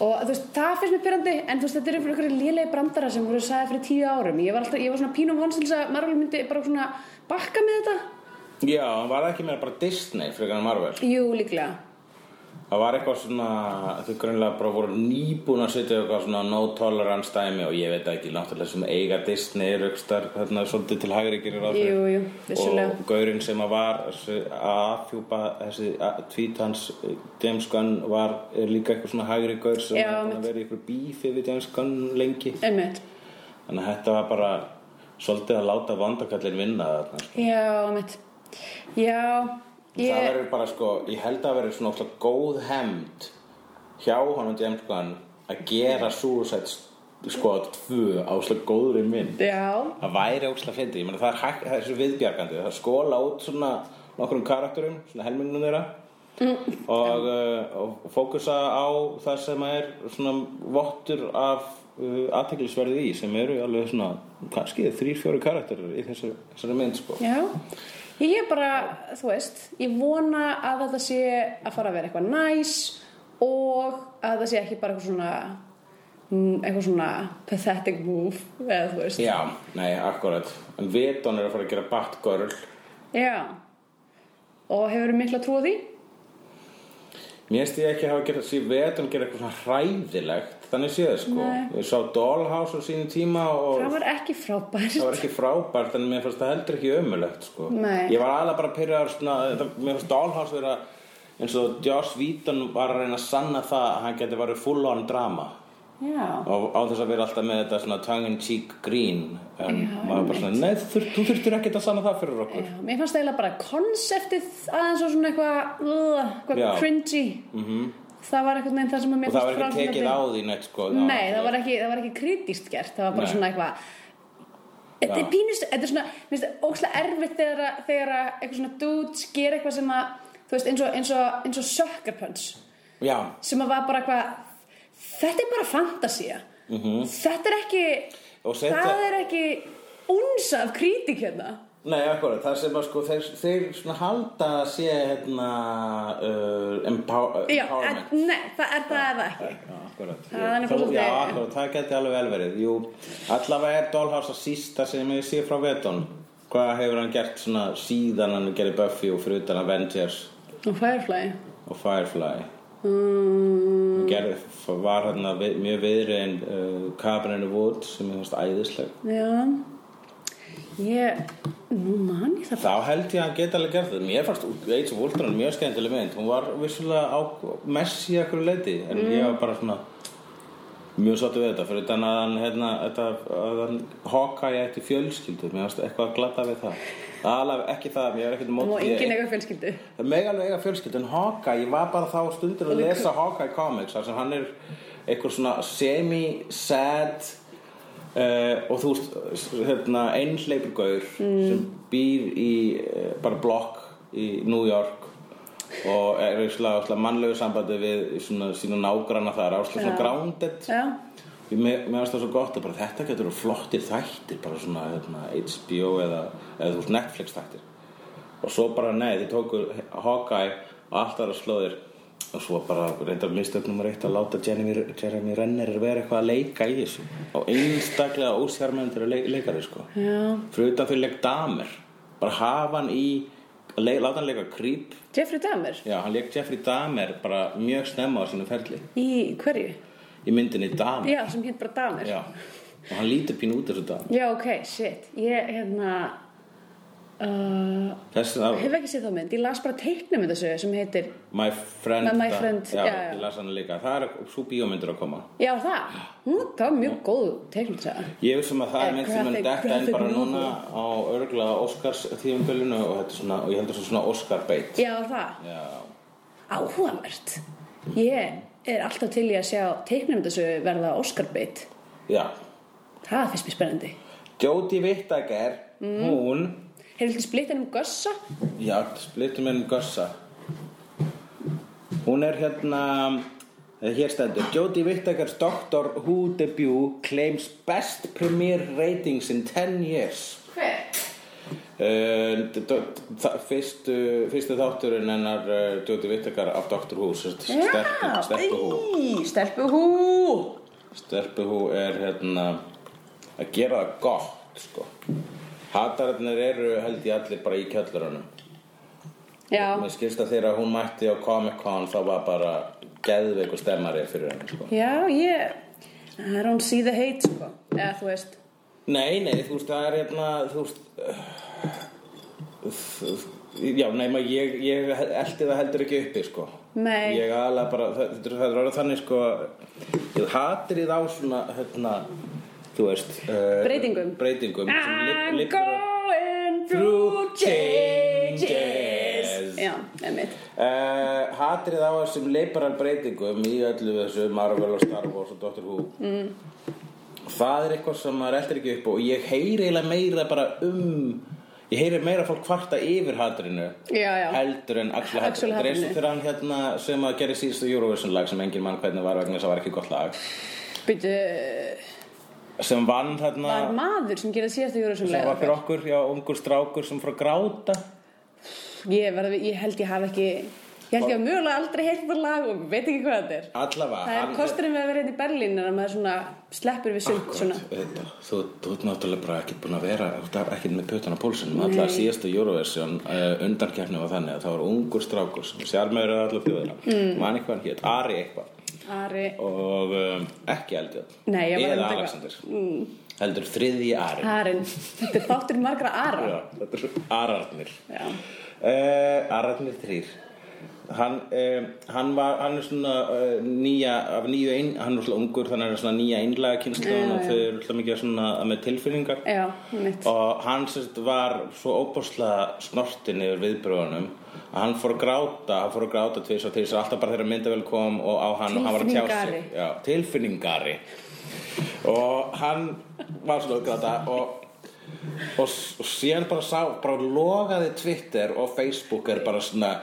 S2: og þú veist, það finnst mér pyrrandi en þú veist, þetta eru fyrir einhverju lélegi brandara sem voru sagði fyrir tíu árum ég var, alltaf, ég var svona pínum vons til þess að Marvel myndi bara svona bakka með þetta
S3: Já, hann var ekki meira bara Disney frekar en Marvel
S2: jú, líklega
S3: Það var eitthvað svona, þau grunlega bara voru nýbúin að setja eitthvað svona no tolerance dæmi og ég veit það ekki, náttúrulega sem eiga Disney raukstar, þarna svolítið til hægri gerir ráð fyrir.
S2: Jú, jú, vissulega.
S3: Og gaurinn sem að var þessi- að afhjúpa þessi að- tweet hans, eh, James Gunn var er líka eitthvað svona hægri gaur sem
S2: Já,
S3: er búinn
S2: mitt.
S3: að vera í eitthvað bífi við James Gunn lengi.
S2: einmitt
S3: Þannig að þetta var bara svolítið að láta vandakallin vinna þarna. sko.
S2: já, einmitt já,
S3: Það
S2: ég,
S3: verður bara sko, ég held að verður svona óslega góð hemmt hjá honum James Gunn að gera Suicide Squad 2 á óslega góðri mynd.
S2: já
S3: Það væri óslega fyndið, ég meina það er, hæk, það er svo viðbjargandi, það skóla út svona nokkrum karakterum, svona helmingnum þeirra og, uh, og fókusa á það sem er svona vottur af uh, aðteklisverði í sem eru alveg svona kannski þrýr, fjóri karakterar í þessu, þessari mynd sko.
S2: Já, ég er bara, þú veist, ég vona að þetta sé að fara að vera eitthvað næs og að þetta sé ekki bara eitthvað svona, mm, eitthvað svona pathetic move, eða þú veist.
S3: Já, nei, akkurat En Veton er að fara að gera Batgirl
S2: Já, og hefur þú mikla trú á því?
S3: Mér finnst ég ekki hafa gert að sé Veton gera eitthvað svona hræðilegt Þannig séð sko
S2: Nei.
S3: Ég sá Dollhouse á sínu tíma og
S2: Það var ekki frábært.
S3: það var ekki frábært en mér fannst það heldur ekki ömulegt sko.
S2: Nei.
S3: ég var alveg bara pyrraður svona, það, mér fannst Dollhouse vera eins og Joss Whedon var að reyna að sanna það að hann geti verið full on drama
S2: Já,
S3: og á þess að vera alltaf með þetta svona tongue in cheek grín en maður bara svona, nei þú, þú þurftir ekki að sanna það fyrir okkur
S2: já, mér fannst það eiginlega bara konseptið aðeins og svona eitthvað, uh, eitthvað
S3: Já. Mhm.
S2: cringy. Mm -hmm. það var eitthvað neginn það sem að mér
S3: Og það var
S2: fannst
S3: ekki
S2: frásögnarbeiðni.
S3: tekið á því neitt sko
S2: Nei, það var ekki, það var ekki kritískt gert, það var bara
S3: Nei.
S2: svona eitthvað Þetta er
S3: Já.
S2: pínust, þetta er svona, minnst það ókslega erfitt þegar, að- þegar að eitthvað svona dudes ger eitthvað sem að, þú veist, eins og, eins og, eins og sucker punch,
S3: Já,
S2: sem að var bara eitthvað, þetta er bara fantasía, -hmm. þetta er ekki,
S3: Mhm. Og setja-
S2: það er ekki unsa af kritík hérna,
S3: nei, akkurat Það sem að sko þeir, þeir svona halda að sé hérna uh, empower,
S2: já, en,
S3: empowerment
S2: nei, það er það eða ekki,
S3: Já, akkurat.
S2: Það er nefnilega
S3: Þó-
S2: svolítið-
S3: Já, akkurat, það geti alveg vel verið Jú, allavega er Dollhouse að sísta sem ég sé frá vetun Hvað hefur hann gert svona síðan hann gerir Buffy og fyrir utan Avengers
S2: og Firefly,
S3: og Firefly
S2: mm,
S3: Hann gerði, var hérna við- mjög viðri en uh, Cabin in the Woods sem ég fannst æðisleg
S2: já, ég, nú man ég það
S3: Þá held ég að hann geta alveg gert það. Mér fannst Age of Ultron mjög skemmtileg mynd. Hún var vissulega á, messi í akkur leiti. En ég var bara svona mjög sáttu við þetta. Fyrir utan að hann, hérna, þetta, að hann hoka ég eftir fjölskyldu. Mér fannst eitthvað að glata við það. Alveg ekki það, ég var ekkert
S2: og
S3: mótið.
S2: engin eitthvað fjölskyldu
S3: Það mega alveg eiga fjölskyldu, en Hawkeye, ég var bara þá stundir að lesa Hawkeye comics, þar sem hann er einhver svona semi-sad uh, og þú veist, s- hérna, einhleipur gaur sem býr í uh, bara blokk í New York og er í slag, slag mannlegu sambandi við svona sína nágranna þar, áslega svona
S2: Já.
S3: grounded
S2: já
S3: Ég- Mér mér finnst það svo gott að bara þetta getur verið flottir þættir, bara svona hérna, HBO eða, eða þú veist Netflix þættir. Og svo bara nei, þið tóku Hawkeye og allt aðra slóðir og svo bara reyndar mistök nummer eitt að láta Jeremy, Jeremy Renner vera eitthvað að leika í þessu. Og einstaklega ósjarmendur leik, leikari sko.
S2: Já.
S3: Fyrir utan fyrir leik damer. Bara hafa hann í, að leik, láta hann leika creep.
S2: Jeffrey Dahmer
S3: Já, hann leik Jeffrey Dahmer bara mjög snemma á sínum ferli.
S2: í hverju?
S3: Í myndinni Dahmer.
S2: Já, sem hétt bara Dahmer
S3: Já, og hann lítur pínu út þessu dag
S2: Já, ok, shit Ég, hérna uh,
S3: Þessi það,
S2: hef ekki séð þá mynd Ég las bara teiknum þetta sögu sem heitir
S3: My Friend
S2: My- My
S3: da-
S2: Friend,
S3: já,
S2: já, já.
S3: ég las hann líka Það er svo bíómyndur að koma
S2: Já, það Hún, það var mjög góð teiknum þetta
S3: Ég vissum að það
S2: Eh,
S3: er mynd sem mun
S2: graphic-
S3: detta en
S2: graphic
S3: bara
S2: novel.
S3: núna á örgla Óskars tíðumbölinu og, þetta er svona, og ég heldur svona Óskar beitt
S2: Já, það
S3: Já,
S2: Áhugavert Ég er alltaf til í að sjá teiknum þetta sögu verða Oscar beitt
S3: já
S2: Það finnst mér spennandi
S3: Jodie Whittaker,
S2: Mm.
S3: hún
S2: Hefur þetta splittin um Gossa?
S3: Já, splittum ennum gossa Hún er hérna eh, Hér stendur Jodie Whittaker's Doctor Who debut claims best premiere ratings in 10 years
S2: Hver?
S3: Eh, d- d- þa- fyrstu, fyrstu þátturinn hennar uh, Jóti Vittakar af Dr. Who sem sagt stelpu, stelpu Who
S2: Stelpu hú
S3: stelpu Who er hérna að gera það gott sko Hatararnir eru held ég allir bara í kjallurunum
S2: Já,
S3: Mér skilst að þegar hún mætti á Comic Con þá var bara geðveiku stemmari fyrir henni sko
S2: Já, ég I don't see the hate, sko Eða þú veist
S3: Nei, nei, þú veist, það er hérna, þú veist, uh, já, nema, ég, ég eldi það heldur ekki uppi, sko.
S2: Nei.
S3: Ég aðalega bara, það, þetta er- það er orðið þannig, sko, ég hatir þið á svona, hérna, þú veist. Uh,
S2: Breytingum.
S3: Breytingum. sem lib-
S2: I'm
S3: lib-
S2: going through
S3: Through
S2: changes
S3: changes.
S2: Já, emmitt
S3: Uh, hatrið á þessum liberal breytingum í öllu þessu Marvel og Star Wars og Doctor Who mm. það er eitthvað sem maður eldir ekki upp á og ég heyri eiginlega meira bara um ég heyri meira fólk kvarta yfir hatrinu
S2: Já, já.
S3: heldur en actual
S2: Actual
S3: hatrinu það er eins og
S2: hatrinu.
S3: þegar hann hérna sem að gera síðustu Eurovision lag sem engin mann hvernig var vegna þess að það var ekki gott lag
S2: Býtu,
S3: sem vann hérna
S2: var maður sem gerði síðast í Eurovision
S3: sem var
S2: lega
S3: fyrir okkur, já, ungur strákur sem frá gráta
S2: ég, verð að- ég held ég hafi ekki Ég held ég hafi mögulega aldrei heyrt þetta lag og veit ekki hvað þetta er
S3: allavega
S2: Það er
S3: hann-
S2: kosturinn við að vera hérna í Berlín er að maður svona sleppur við sumt
S3: Akkurat,
S2: svona
S3: auðvitað. Þú, þú ert náttúrulega bara ekki búin að vera þú ert ekki með pötan á pólsunum allar síðasta Eurovision uh, undankeppni var þannig að það var ungur strákur sem sjármæður að allar þjóðina mm. mann eitthvað hann hétt, Ari eitthvað
S2: Ari
S3: og um, ekki heldur
S2: Nei, ég var
S3: eða
S2: einmitt eitthvað.
S3: Alexander mm. heldur þriðji Ari
S2: Arin, þetta er þáttur margra Ara
S3: Já, þetta eru Ararnir
S2: Já.
S3: uh, Eh, Ararnir þrýr Hann, um, hann, var, hann er svona uh, nýja, af nýju ein, hann er svona ungur þannig að hann er svona nýja einlega
S2: Já,
S3: kynsluðan og
S2: já.
S3: þau eru alltaf mikið svona með tilfinningar
S2: Já, mitt.
S3: og hann sérst var svo óbáslega snortin yfir viðbröðunum að hann fór að gráta, hann fór að gráta tvis og tvis alltaf bara þegar myndavel kom og á hann og hann var að tjá sig,
S2: Tilfinningari.
S3: já, tilfinningari og hann var svona að gráta og og, s- og síðan bara sá, bara logaði Twitter og Facebook er bara svona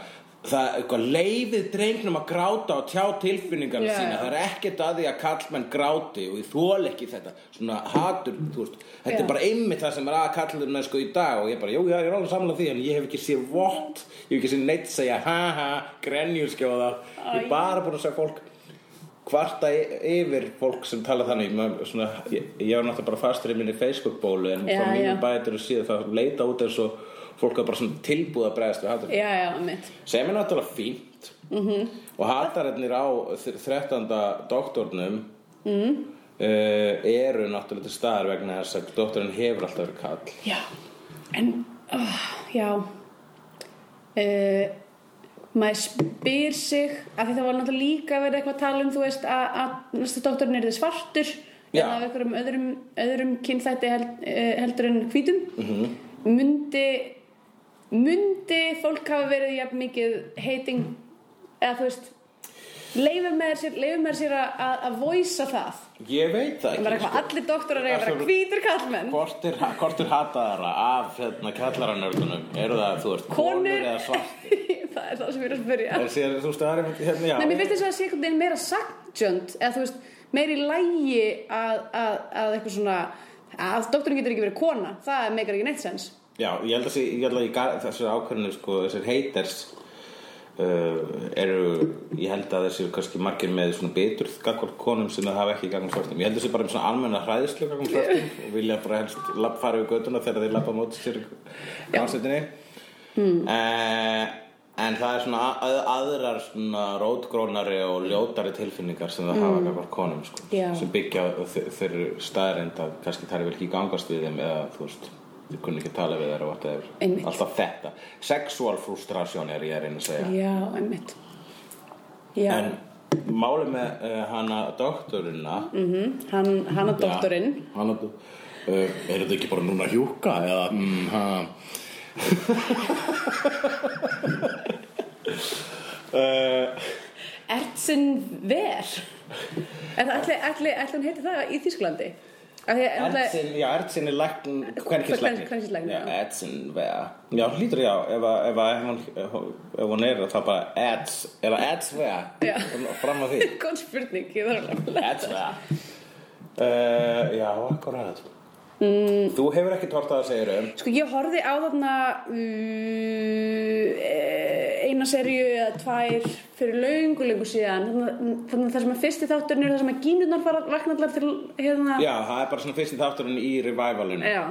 S3: það eitthvað leifið drengnum að gráta og tjá tilfinningar
S2: Já,
S3: sína
S2: já.
S3: það er ekkert að því að kallmenn gráti og ég þól ekki þetta, svona hatur þú veist, þetta
S2: Já.
S3: er bara einmitt það sem er að kallmenn sko í dag og ég bara, jú, já, ég er alveg samlega því en ég hef ekki séð vott, ég hef ekki séð neitt segja, ha ha, grenjurskjóða ég er bara búin að segja fólk kvarta y- yfir fólk sem tala þannig maður, svona, ég, ég var náttúrulega bara fastur í minni Facebook bólu en
S2: Já,
S3: frá
S2: já.
S3: mínum bætur og síðan það leita út eins og fólk er bara svona tilbúið að bregðast við hattur
S2: Já, já, mitt.
S3: sem er náttúrulega fínt
S2: Mhm.
S3: -hmm. og hattararnir á þr- 13. doktornum mm.
S2: Mhm.
S3: eru náttúrulega til staðar vegna þess að doktorinn hefur alltaf verið kall
S2: Já, en, oh, já, uh, maður spyr sig, af því það var náttúrulega líka verið eitthvað að tala um, þú veist, að, að næstu doktorinn er þið svartur,
S3: Já.
S2: eða af einhverjum öðrum, öðrum kynþætti held, uh, heldur en hvítum,
S3: Mhm.
S2: -hmm. myndi, myndi fólk hafa verið jafn mikið heiting, eða þú veist, leifum með sér, leifum með sér að, að, að voisa það,
S3: ég veit það
S2: það var
S3: ekki
S2: eitthvað,
S3: sko.
S2: allir doktorar er að vera
S3: Allir-
S2: hvítur kallmenn.
S3: Hvort er, hvort er hataðara af hérna, kallaranördunum? Eru það, þú veist,
S2: Konur-
S3: eða svart?
S2: það er það sem ég er að spyrja
S3: En síðan, þú veist, það er hérna, já.
S2: Nei, mér finnst þess að það sé einhvern veginn meira saktjönd eða þú veist, meiri lægi að, að, að eitthvað svona að doktorinn getur ekki verið kona það meikar ekki neitt sens
S3: Já, ég held að, sé, ég held að ég gar, þessir ákveðinu, sko, þessir haters uh, eru, ég held að þessir kannski margir með svona betur gagvart konum sem það hafa ekki gagum svartum. Ég held að þessi bara um svona almenna hræðislu gagum svartum og vilja bara helst lapp fara við göttuna þegar þeir lappa móti sér gangsetinni. Mm.
S2: Hmm.
S3: en það er svona að, aðrar svona rótgrónari og ljótari tilfinningar sem það hafa gagvart konum, sko,
S2: Hmm. Já.
S3: sem byggja á þe- þeirri staðarind að kannski þær vil ekki gangast við þeim eða þú veist þau kunni ekki að tala við þær og whatever
S2: Einmitt.
S3: alltaf þetta, sexual frustration er ég að reyna að segja
S2: Já, einmitt Já,
S3: en máli með uh, hana doktorina mm,
S2: hann, hann að doktorinn
S3: hana, uh, er þetta ekki bara núna að hjúka eða mm, ha uh,
S2: Ertsin Ver En ætli, ætli, ætli hann heiti það í Þýsklandi Af því að ætli-
S3: Edson, já, Edson er lækn kvenkinslæknir
S2: Kvenkynslæknir,
S3: já,
S2: já.
S3: Edson, vea já, hlýtur já, ef, að- ef, að hún, eh, ef hún er það bara Eds, er það Eds,
S2: Já.
S3: vea fram að því
S2: Góð spurning, ég þarf alveg að
S3: That's that uh, Já, akkurat
S2: Mm.
S3: Þú hefur ekkert hort að það segir um
S2: Sko ég horfði á þarna uh, eina serju eða tvær fyrir laungu lengur síðan þannig að það sem að fyrsti þátturinn er það sem að gínurnar fara vaknallar til hérna
S3: Já, það er bara svona fyrsti þátturinn í revivalinu
S2: já,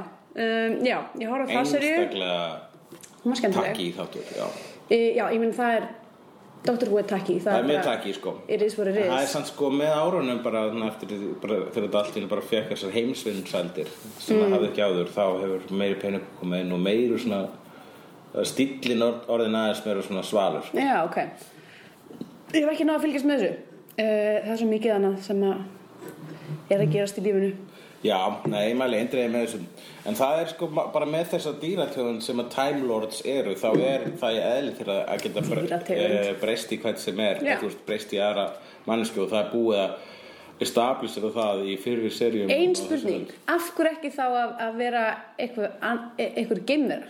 S2: um, já ég horfði á það serju
S3: Einstaklega
S2: hún var skemmtileg
S3: takki í þáttur já.
S2: e, Já, ég minn það er Dr. Who er takki
S3: Það er mjög takki sko
S2: It is what it
S3: En Það er
S2: is
S3: samt sko með árunum bara, svona eftir, því- bara þegar þetta allt í einu bara fekk þessar heimsvinnsældir sem
S2: Mm.
S3: það hafði ekki áður þá hefur meiri peningur komið inn og meiri svona eh, stíllinn orð- orðinn aðeins meira svona svalur
S2: Já, ok Ég hef ekki náð að fylgjast með þessu uh, Það er svo mikið annað sem að er að gerast í lífinu
S3: Já, nei, ég mæli eindriði með þessum En það er sko ma- bara með þessa dýratjóðun sem að Time Lords eru þá er það í eðli til að, að geta bre-
S2: Dýrategund.
S3: eh, breyst í hvert sem er
S2: Já.
S3: þú veist, breyst í aðra mannsku og það er búið að establisera það í fyrri serjum
S2: Einn
S3: á þessu
S2: spurning,
S3: öld.
S2: af hverju ekki þá að, að vera einhver, an- e- einhver geimvera?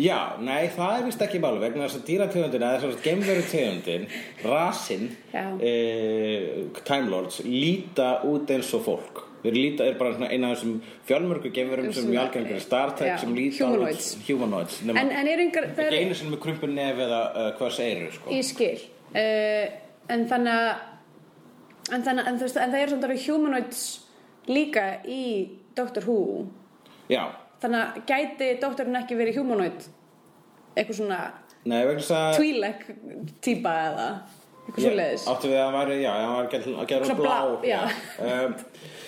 S3: Já, nei, það er vist ekki máli vegna þess að dýrategundin eða þess að geimveru tegundin rasin
S2: Já.
S3: e, Time Lords líta út eins og fólk Þeir líta, er bara svona eina af þessum fjölmörgu geimverum sem
S2: Sem-
S3: við algengur Star
S2: Já,
S3: Trek sem líta
S2: humanoids.
S3: alveg- humanoids nema-
S2: En, en er einhver, það
S3: ekki
S2: er
S3: einu sinni með krumpun nef eða uh, hvað segir sko.
S2: í skil uh, En þannig að En þannig að, en, þú veist, en það er samt alveg humanoids líka í Doctor Who
S3: Já,
S2: Þannig að gæti doktorinn ekki verið humanoid Eitthvað svona
S3: nei, vegna þess að
S2: tvílek típa eða Eitthvað
S3: Ég-
S2: svoleiðis
S3: Áttu við að hann væri, já, hann var að gera- að gera
S2: Svona
S3: blá
S2: blá, já.
S3: Um,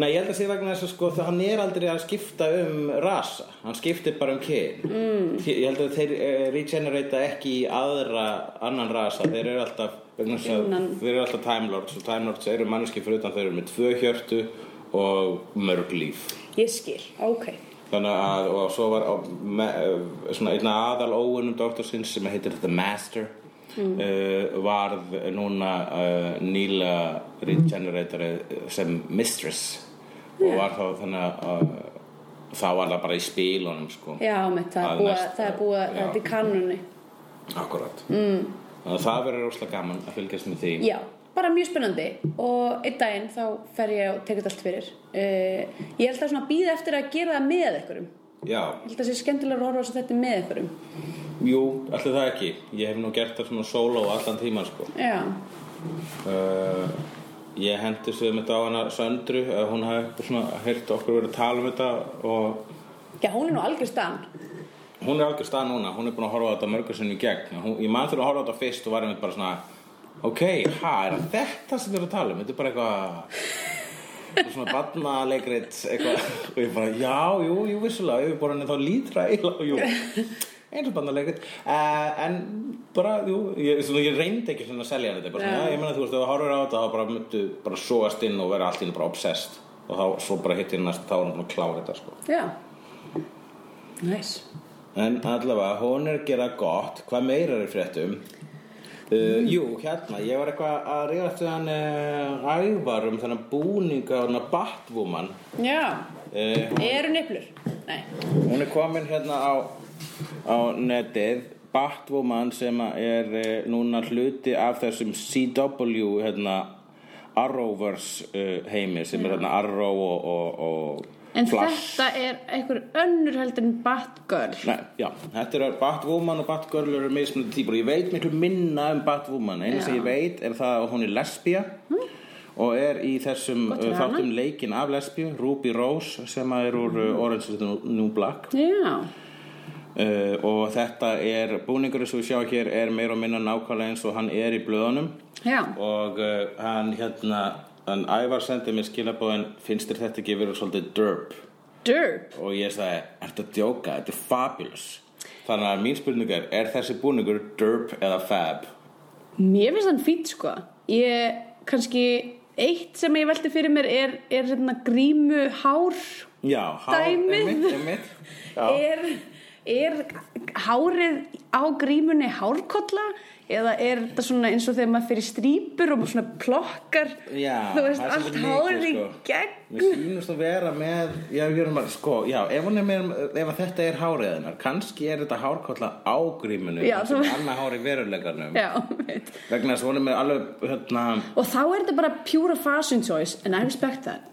S3: Nei, ég held að sé vegna þess að sko, það hann er aldrei að skipta um rasa, hann skiptir bara um kyn. Mm. Ég held að þeir uh, regenerata ekki í aðra, annan rasa, þeir eru alltaf, vegna þess að
S2: Innan.
S3: þeir eru alltaf Time Lords og Time Lords eru manneski fyrir utan þeir eru með tvö hjörtu og mörg líf.
S2: Ég skil, ok.
S3: Þannig að, og svo var á, me, eh, svona einna aðal óunum doktorsins sem heitir The Master mm. varð núna uh, nýla regenerator sem Mistress og var þá þannig að uh, þá var það bara í spílunum sko.
S2: Já, mitt, það er
S3: Að
S2: búið,
S3: næst-
S2: það er búið,
S3: já.
S2: þetta er kanunni.
S3: Akkurat. Mm. Þannig að það verður rosalega gaman að fylgjast með því.
S2: Já, bara mjög spennandi og einn daginn þá fer ég og tekur þetta allt fyrir. Uh, ég held að svona býða eftir að gera það með einhverjum.
S3: Já.
S2: Ég held að það sé skemmtilega að horfa á þetta með einhverjum.
S3: Jú, allir það ekki. Ég hef nú gert það svona solo allan tíman sko.
S2: Já,
S3: Uh, ég hendist við mitt á hana Söndru, uh, hún hafði svona heyrt okkur verið að tala um þetta og
S2: já hún er nú algjör stann.
S3: hún er algjör stað núna, hún er búin að horfa á þetta mörgur sinni í gegn. Hún, ég man þurfa að horfa á þetta fyrst og var einmitt bara svona ok, ha, er það þetta sem þið eru að tala um? Þetta er bara eitthvað eitthvað svona barnaleikrit eitthvað og ég bara, já, jú, jú, vissulega yfirborðinni þá lítra eila og jú eins og barnaleikrit uh, en bara, jú, ég, svona, ég reyndi ekki svona að selja henni þetta, bara svona, já, ég meina þú veist ef þú horfir á þetta, þá bara myndu bara sóast inn og vera allt í henni bara obsessed og þá svo bara hittir næst, þá er hann búin að klára þetta sko.
S2: Já, næs.
S3: En allavega, hún er að gera gott, hvað meira er í fréttum? Uh, jú, hérna, ég var eitthvað að reyða eftir hann uh, ævar um þennan búning á hann að Batwoman.
S2: Já,
S3: Uh,
S2: eru nefnur? Nei.
S3: hún er komin hérna á, á netið, Batwoman sem að er uh, núna hluti af þessum CW, hérna, Arrowverse uh, heimi sem er hérna Arrow og, og, og
S2: En
S3: Flash.
S2: þetta er einhver önnur heldur en Batgirl.
S3: Nei, já, þetta er Batwoman og Batgirl eru mismunandi típur Ég veit miklu minna um Batwoman Einu sem ég veit er það að hún er lesbía Og er í þessum
S2: Mm. Gott fyrir
S3: uh, þáttum leikin af lesbíu Ruby Rose sem að er úr
S2: Mm.
S3: uh, Orange is the New- New Black
S2: Já,
S3: uh, Og þetta er, búningur sem við sjá hér Er meira og minna nákvæmlega eins og hann er í blöðunum
S2: já.
S3: Og uh, hann hérna, hann ævar sendið mér skilabóðin Finnst þér þetta ekki verið svolítið derp?
S2: Derp.
S3: og ég sagði, ertu að djóka, þetta er fabulous þannig að mín spurning er, er þessi búningur derp eða fab?
S2: Mér finnst hann fýtt sko. Ég, kannski, eitt sem ég velti fyrir mér er, er hérna grímu hár.
S3: Já, hár,
S2: Dæmið.
S3: einmitt, einmitt Já,
S2: Er, er hárið á grímunni hárkolla? Eða er þetta svona eins og þegar maður fyrir strípur og maður svona plokkar,
S3: Já,
S2: þú veist,
S3: það er
S2: allt
S3: svolítið
S2: hárið í
S3: mikið, sko.
S2: gegn?
S3: mér sýnust að vera með já, ég er maður, sko, já, ef, hún er með, ef að þetta er háriðinar, kannski er þetta hárkolla á gríminu
S2: Já,
S3: sem
S2: svo-
S3: annað hár í veruleikanum
S2: Já, veit.
S3: vegna þess að hún er með alveg hérna,
S2: Og þá er þetta bara pure fashion choice and I respect that.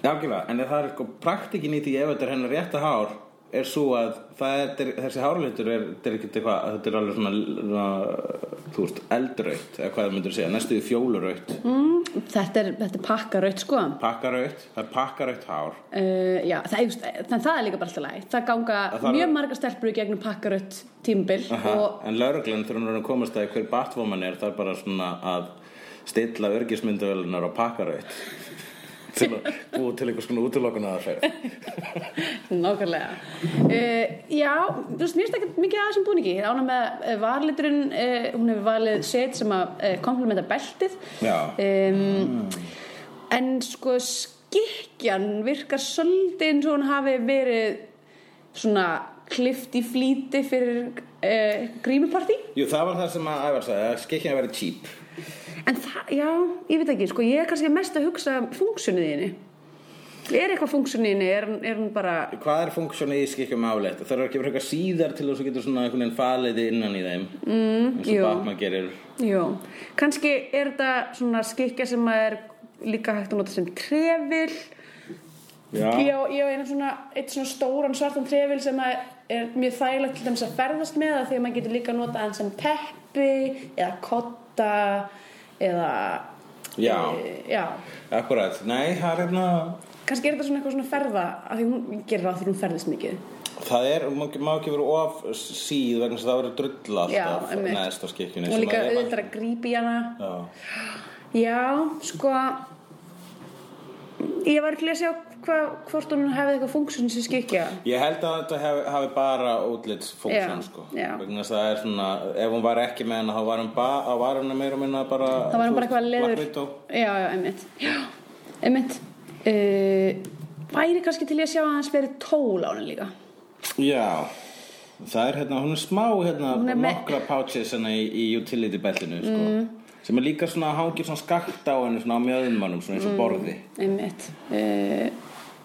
S3: Jákjöfða, en það er sko praktikin í því ef þetta er hennar rétta hár er svo að það er, þetta er- þessi hárlítur er, þetta er ekki eitthvað, þetta er alveg svona, svona þú veist, eldraut eða hvað það myndur segja, næstu því fjóluraut
S2: Mm. Þetta er, þetta er pakkaraut sko.
S3: pakkaraut, það er pakkaraut hár
S2: Uh, já, það, just, þannig það er líka bara alltaf læg. Það ganga
S3: Það þarf-
S2: mjög margar stelpur í gegnum pakkaraut tímbil
S3: Aha,
S2: og
S3: en lauruglan þegar hún er að komast að því hver batvoman er, það er bara svona að stilla örgismyndavelunar á pakkaraut til að búa til einhvers konar útilokun að það
S2: nákvæmlega. Uh, já, þú veist, mér finnst ekkert mikið að þessum búningi. Ég er ána með uh, varliturinn, uh, hún hefur valið set sem að uh, komplementa beltið.
S3: Já.
S2: Um, En sko skikkjan virkar svolítið eins og hún hafi verið svona klift í flýti fyrir uh, grímupartí.
S3: Jú, það var það sem að ævar sagði, að skikkin að vera cheap
S2: En það, já, ég veit ekki, sko, ég er kannski mest að hugsa um funksjónið þinni. Er eitthvað funksjónið þinni, er, hún- er hún bara,
S3: Hvað er funksjónið í skikkjum afleitt? Það eru ekki verið eitthvað síðar til þess að þú getur svona einhvern veginn falið innan í þeim mm, eins og
S2: jú.
S3: Batman gerir
S2: jú, kannski er þetta svona skikja sem að er líka hægt að nota sem trefil.
S3: Já,
S2: Ég á, ég á einu svona, eitt svona stóran svartan trefil sem að er mjög þægilegt til dæmis að ferðast með það því að maður getur líka að nota hann sem teppi eða kotta eða,
S3: já
S2: e, já,
S3: akkurat Nei, það er hérna
S2: kannski er þetta svona eitthvað svona ferða af því hún ég gerir ráð fyrir hún ferðist mikið.
S3: Það er, má, má ekki vera of síð vegna þess að það verður drull alltaf
S2: Já, einmitt.
S3: neðst á skikkjunni
S2: og
S3: sem
S2: líka
S3: að er-
S2: auðvitað að grípa í hana
S3: Já,
S2: já, sko Ég var ekki að sjá hva, hvort hún hefði eitthvað funksjón sem skikja.
S3: Ég held að þetta hef, hafi bara útlitsfunksjón
S2: Já,
S3: sko
S2: já.
S3: vegna þess að það er svona ef hún var ekki með hana þá var hún, ba, þá var hún meira og minna bara
S2: Það var nú bara
S3: þú
S2: eitthvað
S3: veist,
S2: leður.
S3: Black Widow.
S2: Já, já, einmitt. Já, einmitt. Uh, væri kannski til ég að sjá að hans verið tól á henni líka.
S3: Já Það er hérna, hún er smá hérna
S2: Hún er með- Mm.
S3: nokkra pouches hérna í, í utility beltinu sko sem er líka svona hangir svona skakt á henni svona á mjöðum mannum
S2: Mm.
S3: svona eins og borði
S2: Einmitt. Uh,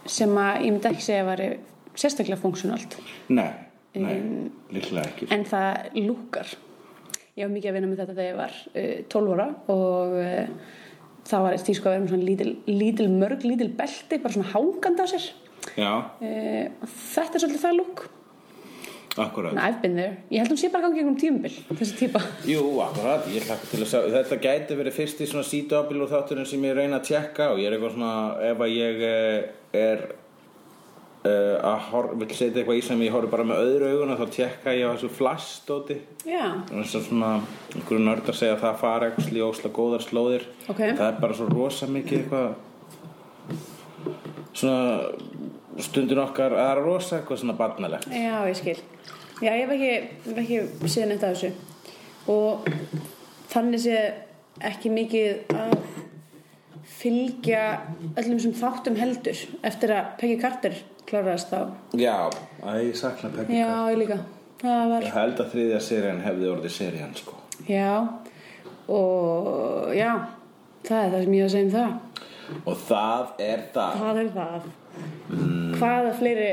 S2: sem að ég myndi ekki segja að væri sérstaklega funksjónalt.
S3: Nei, nei,
S2: Mm.
S3: líklega ekki
S2: En það lúkar. Ég var mikið að vinna með þetta þegar ég var uh, 12 ára og uh, það var stísku að vera með svona lítil, lítil mörg, lítil belti, bara svona hangandi á sér.
S3: Já,
S2: Uh, þetta er svolítið það lúk.
S3: akkurat
S2: Þannig að I've been there. Ég held hún sé bara gangið einhverjum tímubil, þessi típa.
S3: Jú, akkurat, ég hlakka til að sjá Þetta gæti verið fyrst í svona sítuabilur þátturinn sem ég reyna að tjekka og ég er eitthvað svona ef að ég eh, er uh, að hor- vill setja eitthvað í sem ég horf bara með öðru auguna þá tjekka ég á þessu flash dóti
S2: Já.
S3: þess að svona einhverju nörd að segja að það fara eitthvað í ósla góðar slóðir
S2: Ok.
S3: það er bara svo rosa mikið eitthvað svona stundin okkar að það er rosa eitthvað svona barnalegt
S2: Já, ég skil. Já, ég hef ekki, ég hef ekki séð neitt af þessu. Og þannig sé ekki mikið að fylgja öllum sem þáttum heldur eftir að Peggy Carter kláraðist þá.
S3: já, að ég sakna Peggy
S2: Já, ég líka. Það var,
S3: ég held að þriðja serían hefði orðið serían sko
S2: já. Og já, það er það sem ég hef að segja um það.
S3: og það er það
S2: Það er það. Hvaða fleiri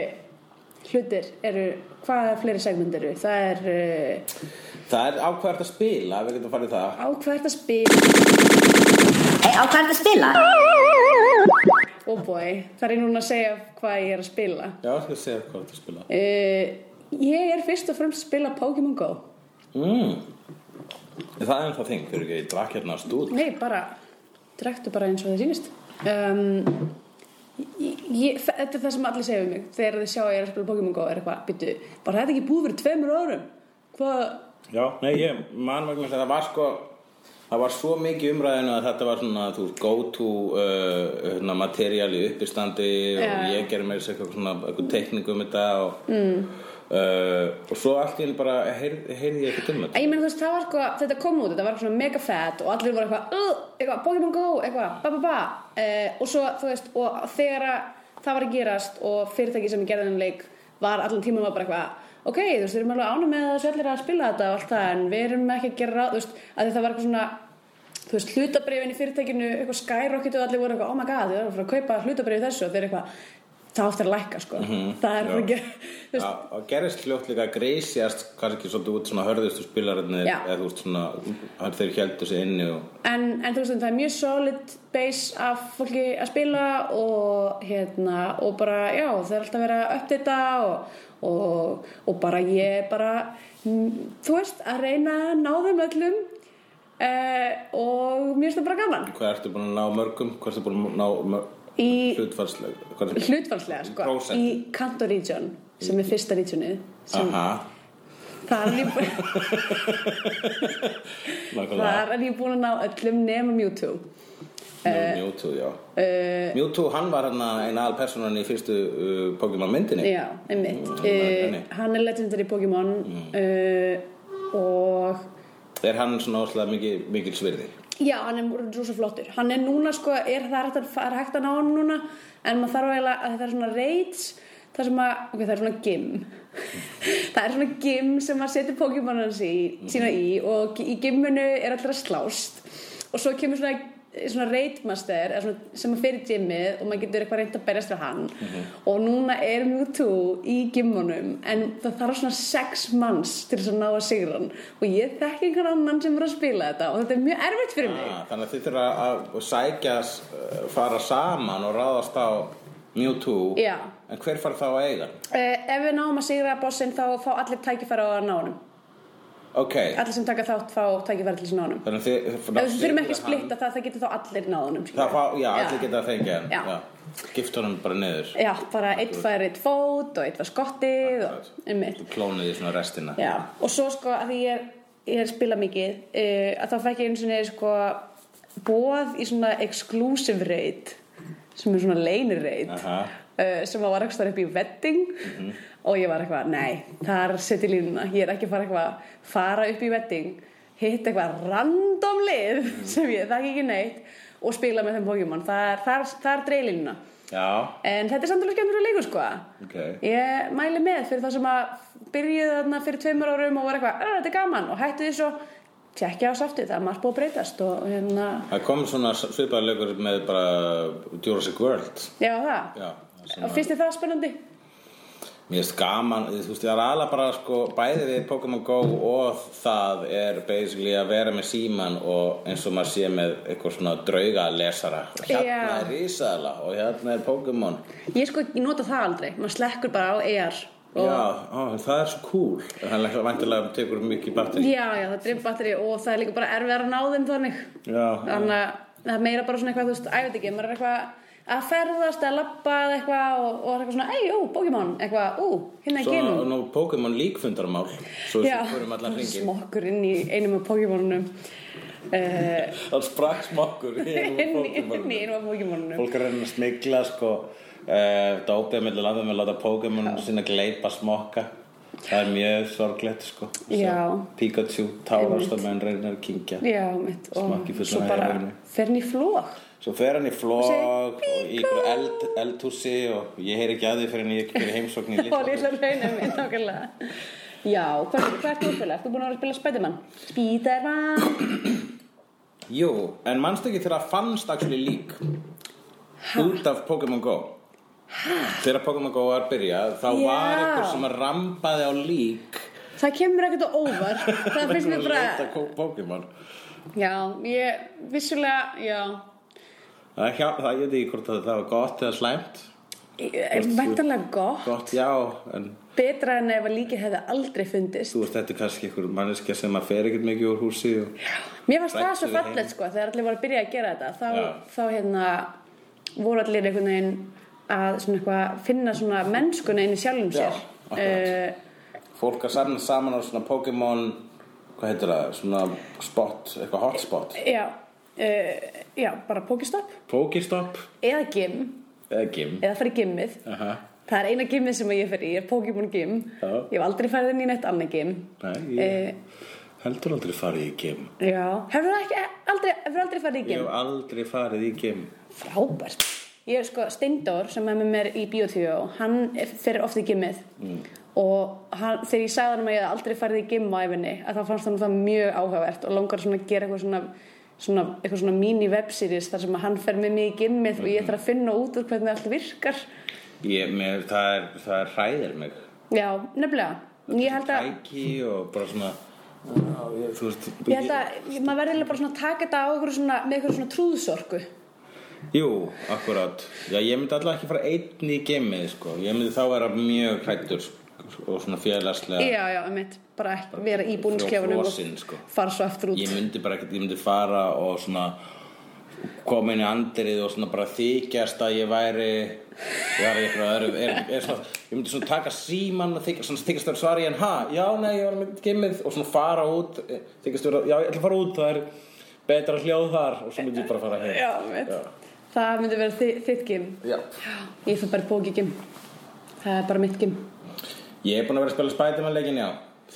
S2: hlutir eru, hvaða fleiri segmund eru? Það er uh,
S3: það er ákvært að spila, við getum farið í það
S2: ákvært að spila
S6: Á hvað ertu að spila?
S2: og bói. Það er Oh ég núna að segja hvað ég er að spila.
S3: já, ég skal segja hvað það spila
S2: Uh, ég er fyrst og fremst að spila Pokémon Go.
S3: mm. það er ennþá þing fyrir ekki, ég drakk hérna á stúl
S2: Nei, bara, drektu bara eins og það sýnist. Um, ég, ég, þetta er það sem allir segja um mig. Þegar þið sjá að ég er að spila Pokémon Go er eitthvað, byttu, bara þetta er ekki búið fyrir tveimur árum. Hvað,
S3: Já, nei, ég man vegna þess að það var sko það var svo mikið umræðinu að þetta var svona þú veist, go to uh, hérna, material í uppistandi og
S2: Já.
S3: ég gerði með þessu eitthvað svona eitthvað teikningu um þetta og, mm. og svo allt í henni bara heyrði heyr, ég ekkert um
S2: Æ,
S3: þetta
S2: Ég meina þú veist, það var eitthvað, þetta kom út, þetta var svona mega fett og allir voru eitthvað, "Ugh, eitthvað, Pokémon Go, eitthvað, ba ba ba uh, og svo, þú veist, og þegar að það var að gerast og fyrirtæki sem gerði þennan leik var allan tímann var bara eitthvað ok, þú veist, við erum alveg ánum með að þessu allir að spila þetta og allt það, en við erum ekki að gera ráð, þú veist, að þetta var eitthvað svona þú veist, hlutabrifin í fyrirtækinu, eitthvað skyrocketu og allir voru eitthvað, oh my god, við erum að fara að kaupa hlutabrif þessu og þeir eru eitthvað, það áttir að lækka, sko, það er
S3: já.
S2: ekki, þú
S3: Já,
S2: veist,
S3: og gerðist hljótt líka greisjast kannski svolítið út svona hörðustu spilararnir
S2: Já.
S3: eða þú veist svona, hann þeir heldur sig inni og
S2: en, en þú veist en það er mjög solid base af fólki að spila og hérna og bara já það er alltaf verið að uppdata og, og, og bara ég bara mm, þú veist að reyna að ná þeim öllum eh, og mér finnst það bara gaman
S3: hvað ertu búin að ná mörgum, hvað ertu búin að ná mörg
S2: Í-
S3: hlutfarslega, hvað er
S2: hlutfalslega sko
S3: Prósent.
S2: í Kanto region sem er fyrsta regionið sem
S3: Aha,
S2: þar er ég búin
S3: nákvæmlega
S2: þar er ég búin að ná öllum nema Mewtwo Eh,
S3: Nú, Mewtwo, já Mewtwo, hann var hann einn aðal personan í fyrstu uh, Pokémon myndinni
S2: Já,
S3: Mm,
S2: einmitt
S3: henni.
S2: uh, Hann er legendary Pokémon
S3: Mm.
S2: uh, og
S3: Er hann svona óslega mikil, mikil svirði
S2: já, hann er rosa flottur hann er núna sko, er það er hægt að, það er hægt að ná hann núna en maður þarf eiginlega að það er svona raids það sem að, ok, það er svona gym það er svona gym sem maður setur Pokémon hans í, sína í og í gimminu er allra slást og svo kemur svona svona raidmaster eða svona- sem að fyrir gymmið og maður getur eitthvað reynd að berjast við hann
S3: Mhm.
S2: og núna er Mewtwo í gimmunum en það þarf svona sex manns til þess að ná að sigra hann og ég þekki einhver annan sem er að spila þetta og þetta er mjög erfitt fyrir mig
S3: ah, Þannig að þið þurfa að sækja uh, fara saman og ráðast á Mewtwo
S2: Já.
S3: En hver fara þá að eiga? hann?
S2: uh, ef við náum að sigra bossinn þá fá allir tækifæra á að ná honum
S3: Ok,
S2: allir sem taka þátt fá tækifæra til þess að ná honum
S3: þannig að þið ná
S2: við þurfum ekki að
S3: sigra
S2: splitta það, það getur þá allir náð honum
S3: hann. Það fá, já,
S2: Já.
S3: allir geta að þengja hann
S2: Já.
S3: Gift honum bara niður
S2: Já, bara eitt fær eitt fót og eitt var skottið og
S3: Akkurat.
S2: einmitt
S3: Klónuði svona restina
S2: Já, og svo sko að því ég er, ég er að spila mikið eh, uh, að þá fekk ég einu sinni sko bóð í svona exclusive raid sem er svona leynireit
S3: Aha.
S2: uh, sem að var ekki starf upp í vetting og ég var eitthvað, nei, þar seti línuna ég er ekki að fara eitthvað fara upp í vetting hitt eitthvað random lið sem ég þekki ekki neitt og spila með þeim Pokémon þar, þar, þar dreif línuna
S3: Já,
S2: en þetta er samt alveg skemmtur að leikur sko
S3: ok.
S2: ég mæli með fyrir það sem að byrjuði þarna fyrir tveimur árum og var eitthvað, "Ah, þetta er gaman og hættu því svo tjekkja á saftið, það er margt búið að breytast og hérna,
S3: Það kom svona svipaður leikur með bara Jurassic World.
S2: já það
S3: Já,
S2: og finnst þið það spennandi?
S3: Mér finnst gaman, þú veist, það er alveg bara sko bæði við Pokémon Go og það er basically að vera með síman og eins og maður sé með eitthvað svona drauga lesara. Og hérna
S2: Já.
S3: er Rísala og hérna er Pokémon.
S2: Ég sko, ég nota það aldrei, maður slekkur bara á ER og
S3: Já, ó, það er svo cool. Það er vantilega tekur mikið batteri.
S2: já, já, það dreif batteri og það er líka bara erfiðar að ná þeim þannig
S3: Já,
S2: þannig að það er meira bara svona eitthvað, þú veist, æ, ég veit ekki, maður er eitthvað að ferðast, að labba eða eitthvað og, og er eitthvað svona, ei, ú, Pokémon, eitthvað, ú, hérna er
S3: Svo
S2: genum
S3: nú Pokémon líkfundarmál Svo
S2: Já,
S3: við fórum um allan hringin
S2: smokkur inn í einum af Pokémonunum uh,
S3: Það sprakk smokkur í
S2: Eh, inn,
S3: einum
S2: í- inn í
S3: Pokémon
S2: einum af Pokémonunum
S3: Fólk er að reyna að smigla sko uh, Dópið með landum með að láta Pokémon sína gleipa smokka Það er mjög sorglegt sko Svo
S2: Já.
S3: Pikachu, Taurast að menn reynir að kynkja
S2: Já, mitt, og
S3: Smakki fullan
S2: svo
S3: af
S2: bara
S3: heyrúllinu.
S2: fer hann í flók
S3: Svo fer hann í flog
S2: Og
S3: og
S2: segir,
S3: í ykkur eld, eldhúsi og ég heyri ekki að því fyrir en ég fyrir heimsókn í
S2: á
S3: litla
S2: lilla raunum minn nákvæmlega Já, hvað, hvað ert þú að spila? Ertu búin að vera að spila Spiderman? Spiderman
S3: Jú, en manstu ekki þegar að fannst actually lík út af Pokémon Go þegar Pokémon Go var að byrja þá
S2: Já.
S3: var einhver sem að rampaði á lík
S2: Það kemur ekkert á óvar Það finnst mér
S3: vegna að
S2: bara
S3: leita Ko- Pokémon
S2: Já, ég vissulega, já
S3: það, hjá, það ég veit ekki hvort að það var gott eða slæmt
S2: Mæntanlega gott
S3: gott já, en
S2: Betra en ef að líki hefði aldrei fundist
S3: þú veist þetta er kannski einhver manneskja sem að fer ekkert mikið úr húsi og...
S2: Mér fannst það
S3: Ræddu
S2: svo
S3: við
S2: fallegt sko Þegar allir voru að byrja að gera þetta Þá,
S3: Já.
S2: þá hérna voru allir einhvern veginn að svona eitthvað finna svona mennskuna inn í sjálfum
S3: Já,
S2: sér Eh,
S3: akkurat. fólk að samna saman á svona Pokémon hvað heitir það, svona spot eitthvað hotspot,
S2: Eh, Já, uh, já, bara Pokestopp
S3: Pokestop
S2: eða gym,
S3: eða gym
S2: eða farið gymmið
S3: Aha.
S2: Það er eina gymmið sem ég fer í, er Pokémon gym
S3: Já.
S2: Ég hef aldrei farið inn í neitt annað gym
S3: Nei, ég
S2: Eh.
S3: heldur aldrei farið í gym
S2: Já, hefur það ekki, aldrei, hefur aldrei farið í
S3: Ég
S2: gym?
S3: hef aldrei farið í gym
S2: Frábært Ég er sko, Steindór sem er með mér í Bíotvíó, hann er- fer oft í gymmið
S3: Mm.
S2: og hann, þegar ég sagði hann að ég hef aldrei farið í gymm á æfinni að þá fannst hann það mjög áhugavert og langar svona að gera eitthvað svona svona, eitthvað svona mini webseries þar sem að hann fer með mig í gymmið og
S3: Mm.
S2: ég þarf að finna út úr hvernig allt virkar
S3: ég, mér, það, er, það er hræðir mig
S2: Já, nefnilega Ég held að
S3: Tæki og bara svona á, ég, Þú veist
S2: Ég held að ég- maður verður eiginlega bara svona að taka þetta á einhverju svona, með einhverju svona trúðsorku.
S3: Jú, akkurát Já, ég myndi alltaf ekki fara einn í gymið sko. Ég myndi þá vera mjög hrættur og svona félagslega
S2: Já, já, einmitt. Bara ekki vera í búningsklefanum
S3: Frjófrosin,
S2: og
S3: sko.
S2: fara svo aftur út.
S3: Ég myndi bara ekkert, ég myndi fara og svona koma inn í andrið og svona bara þykjast að ég væri ég var í eitthvað öðru er, er svona, ég myndi svona taka síman og þykjast, svona, þykjast að svara í hann ha, já, nei, ég var með gimmið og svona fara út eh, þykjast að, já, ég ætla að fara út það er betra hljóð þar og svo myndi ég bara fara heim
S2: Já, einmitt.
S3: Já.
S2: Það myndi vera þi- þitt gym.
S3: Já.
S2: Ég fyrir bara í bókigym. Það er bara mitt gym.
S3: ég er búin að vera að spila Spiderman leikin, já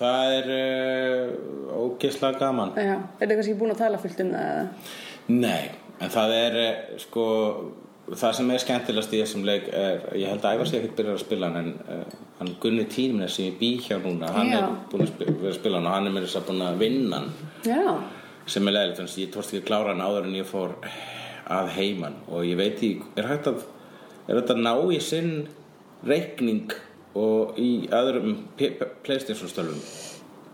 S3: það er uh, ógislega gaman
S2: Já, er þetta kannski búin að tala fullt um það? eða?
S3: Nei, en það er eh, sko það sem er skemmtilegast í þessum leik er, ég held að æfa sig ekkert byrjar að spila hann en uh, hann Gunni Tínumina sem ég bý hjá núna hann
S2: Já.
S3: er búin að spila, vera að spila hann og hann er mér þess að búin að vinna hann
S2: Já,
S3: sem er leðilegt, þannig að ég tórst ekki að klára hann áður en ég fór eh, að heiman og ég veit í, er hægt að er þetta að ná í sinn reikning og í öðrum P- P- Playstation stölum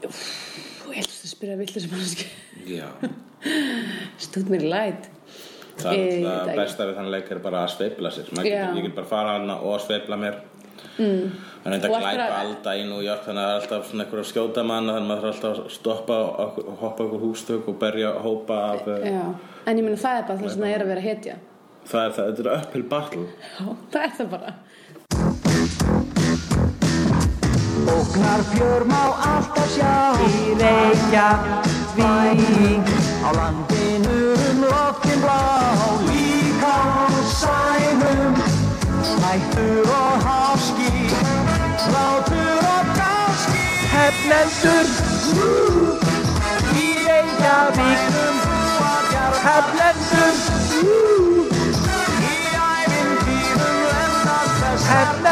S2: þú helst að spyrja villu sem hann skil.
S3: Já,
S2: Stúð mér í læt.
S3: það
S2: Ég
S3: er
S2: veit
S3: það
S2: ekki.
S3: besta við þann leik er bara að sveifla sér Maður
S2: Já. Mm.
S3: getur, ég get bara að fara hana og sveifla mér hann er
S2: Og
S3: þetta að
S2: eftir
S3: glæpa
S2: að-
S3: alltaf í New York þannig að það er alltaf svona einhver að skjóta mann þannig að maður þarf alltaf að stoppa og og hoppa okkur hústök og berja hópa af, eh,
S2: Já, en ég meina það er bara það sem það er að vera hetja.
S3: það er það, þetta er uphill battle
S2: Já, það er það bara.
S7: Óknar fjör má alltaf sjá Í reykja vík Á landinu um loftin blá Líka sæna hættur og háski Slátur og gáski Hefnendur Í Reykjavíkum Hefnendur Í ævintýrum lenda þess Hefnendur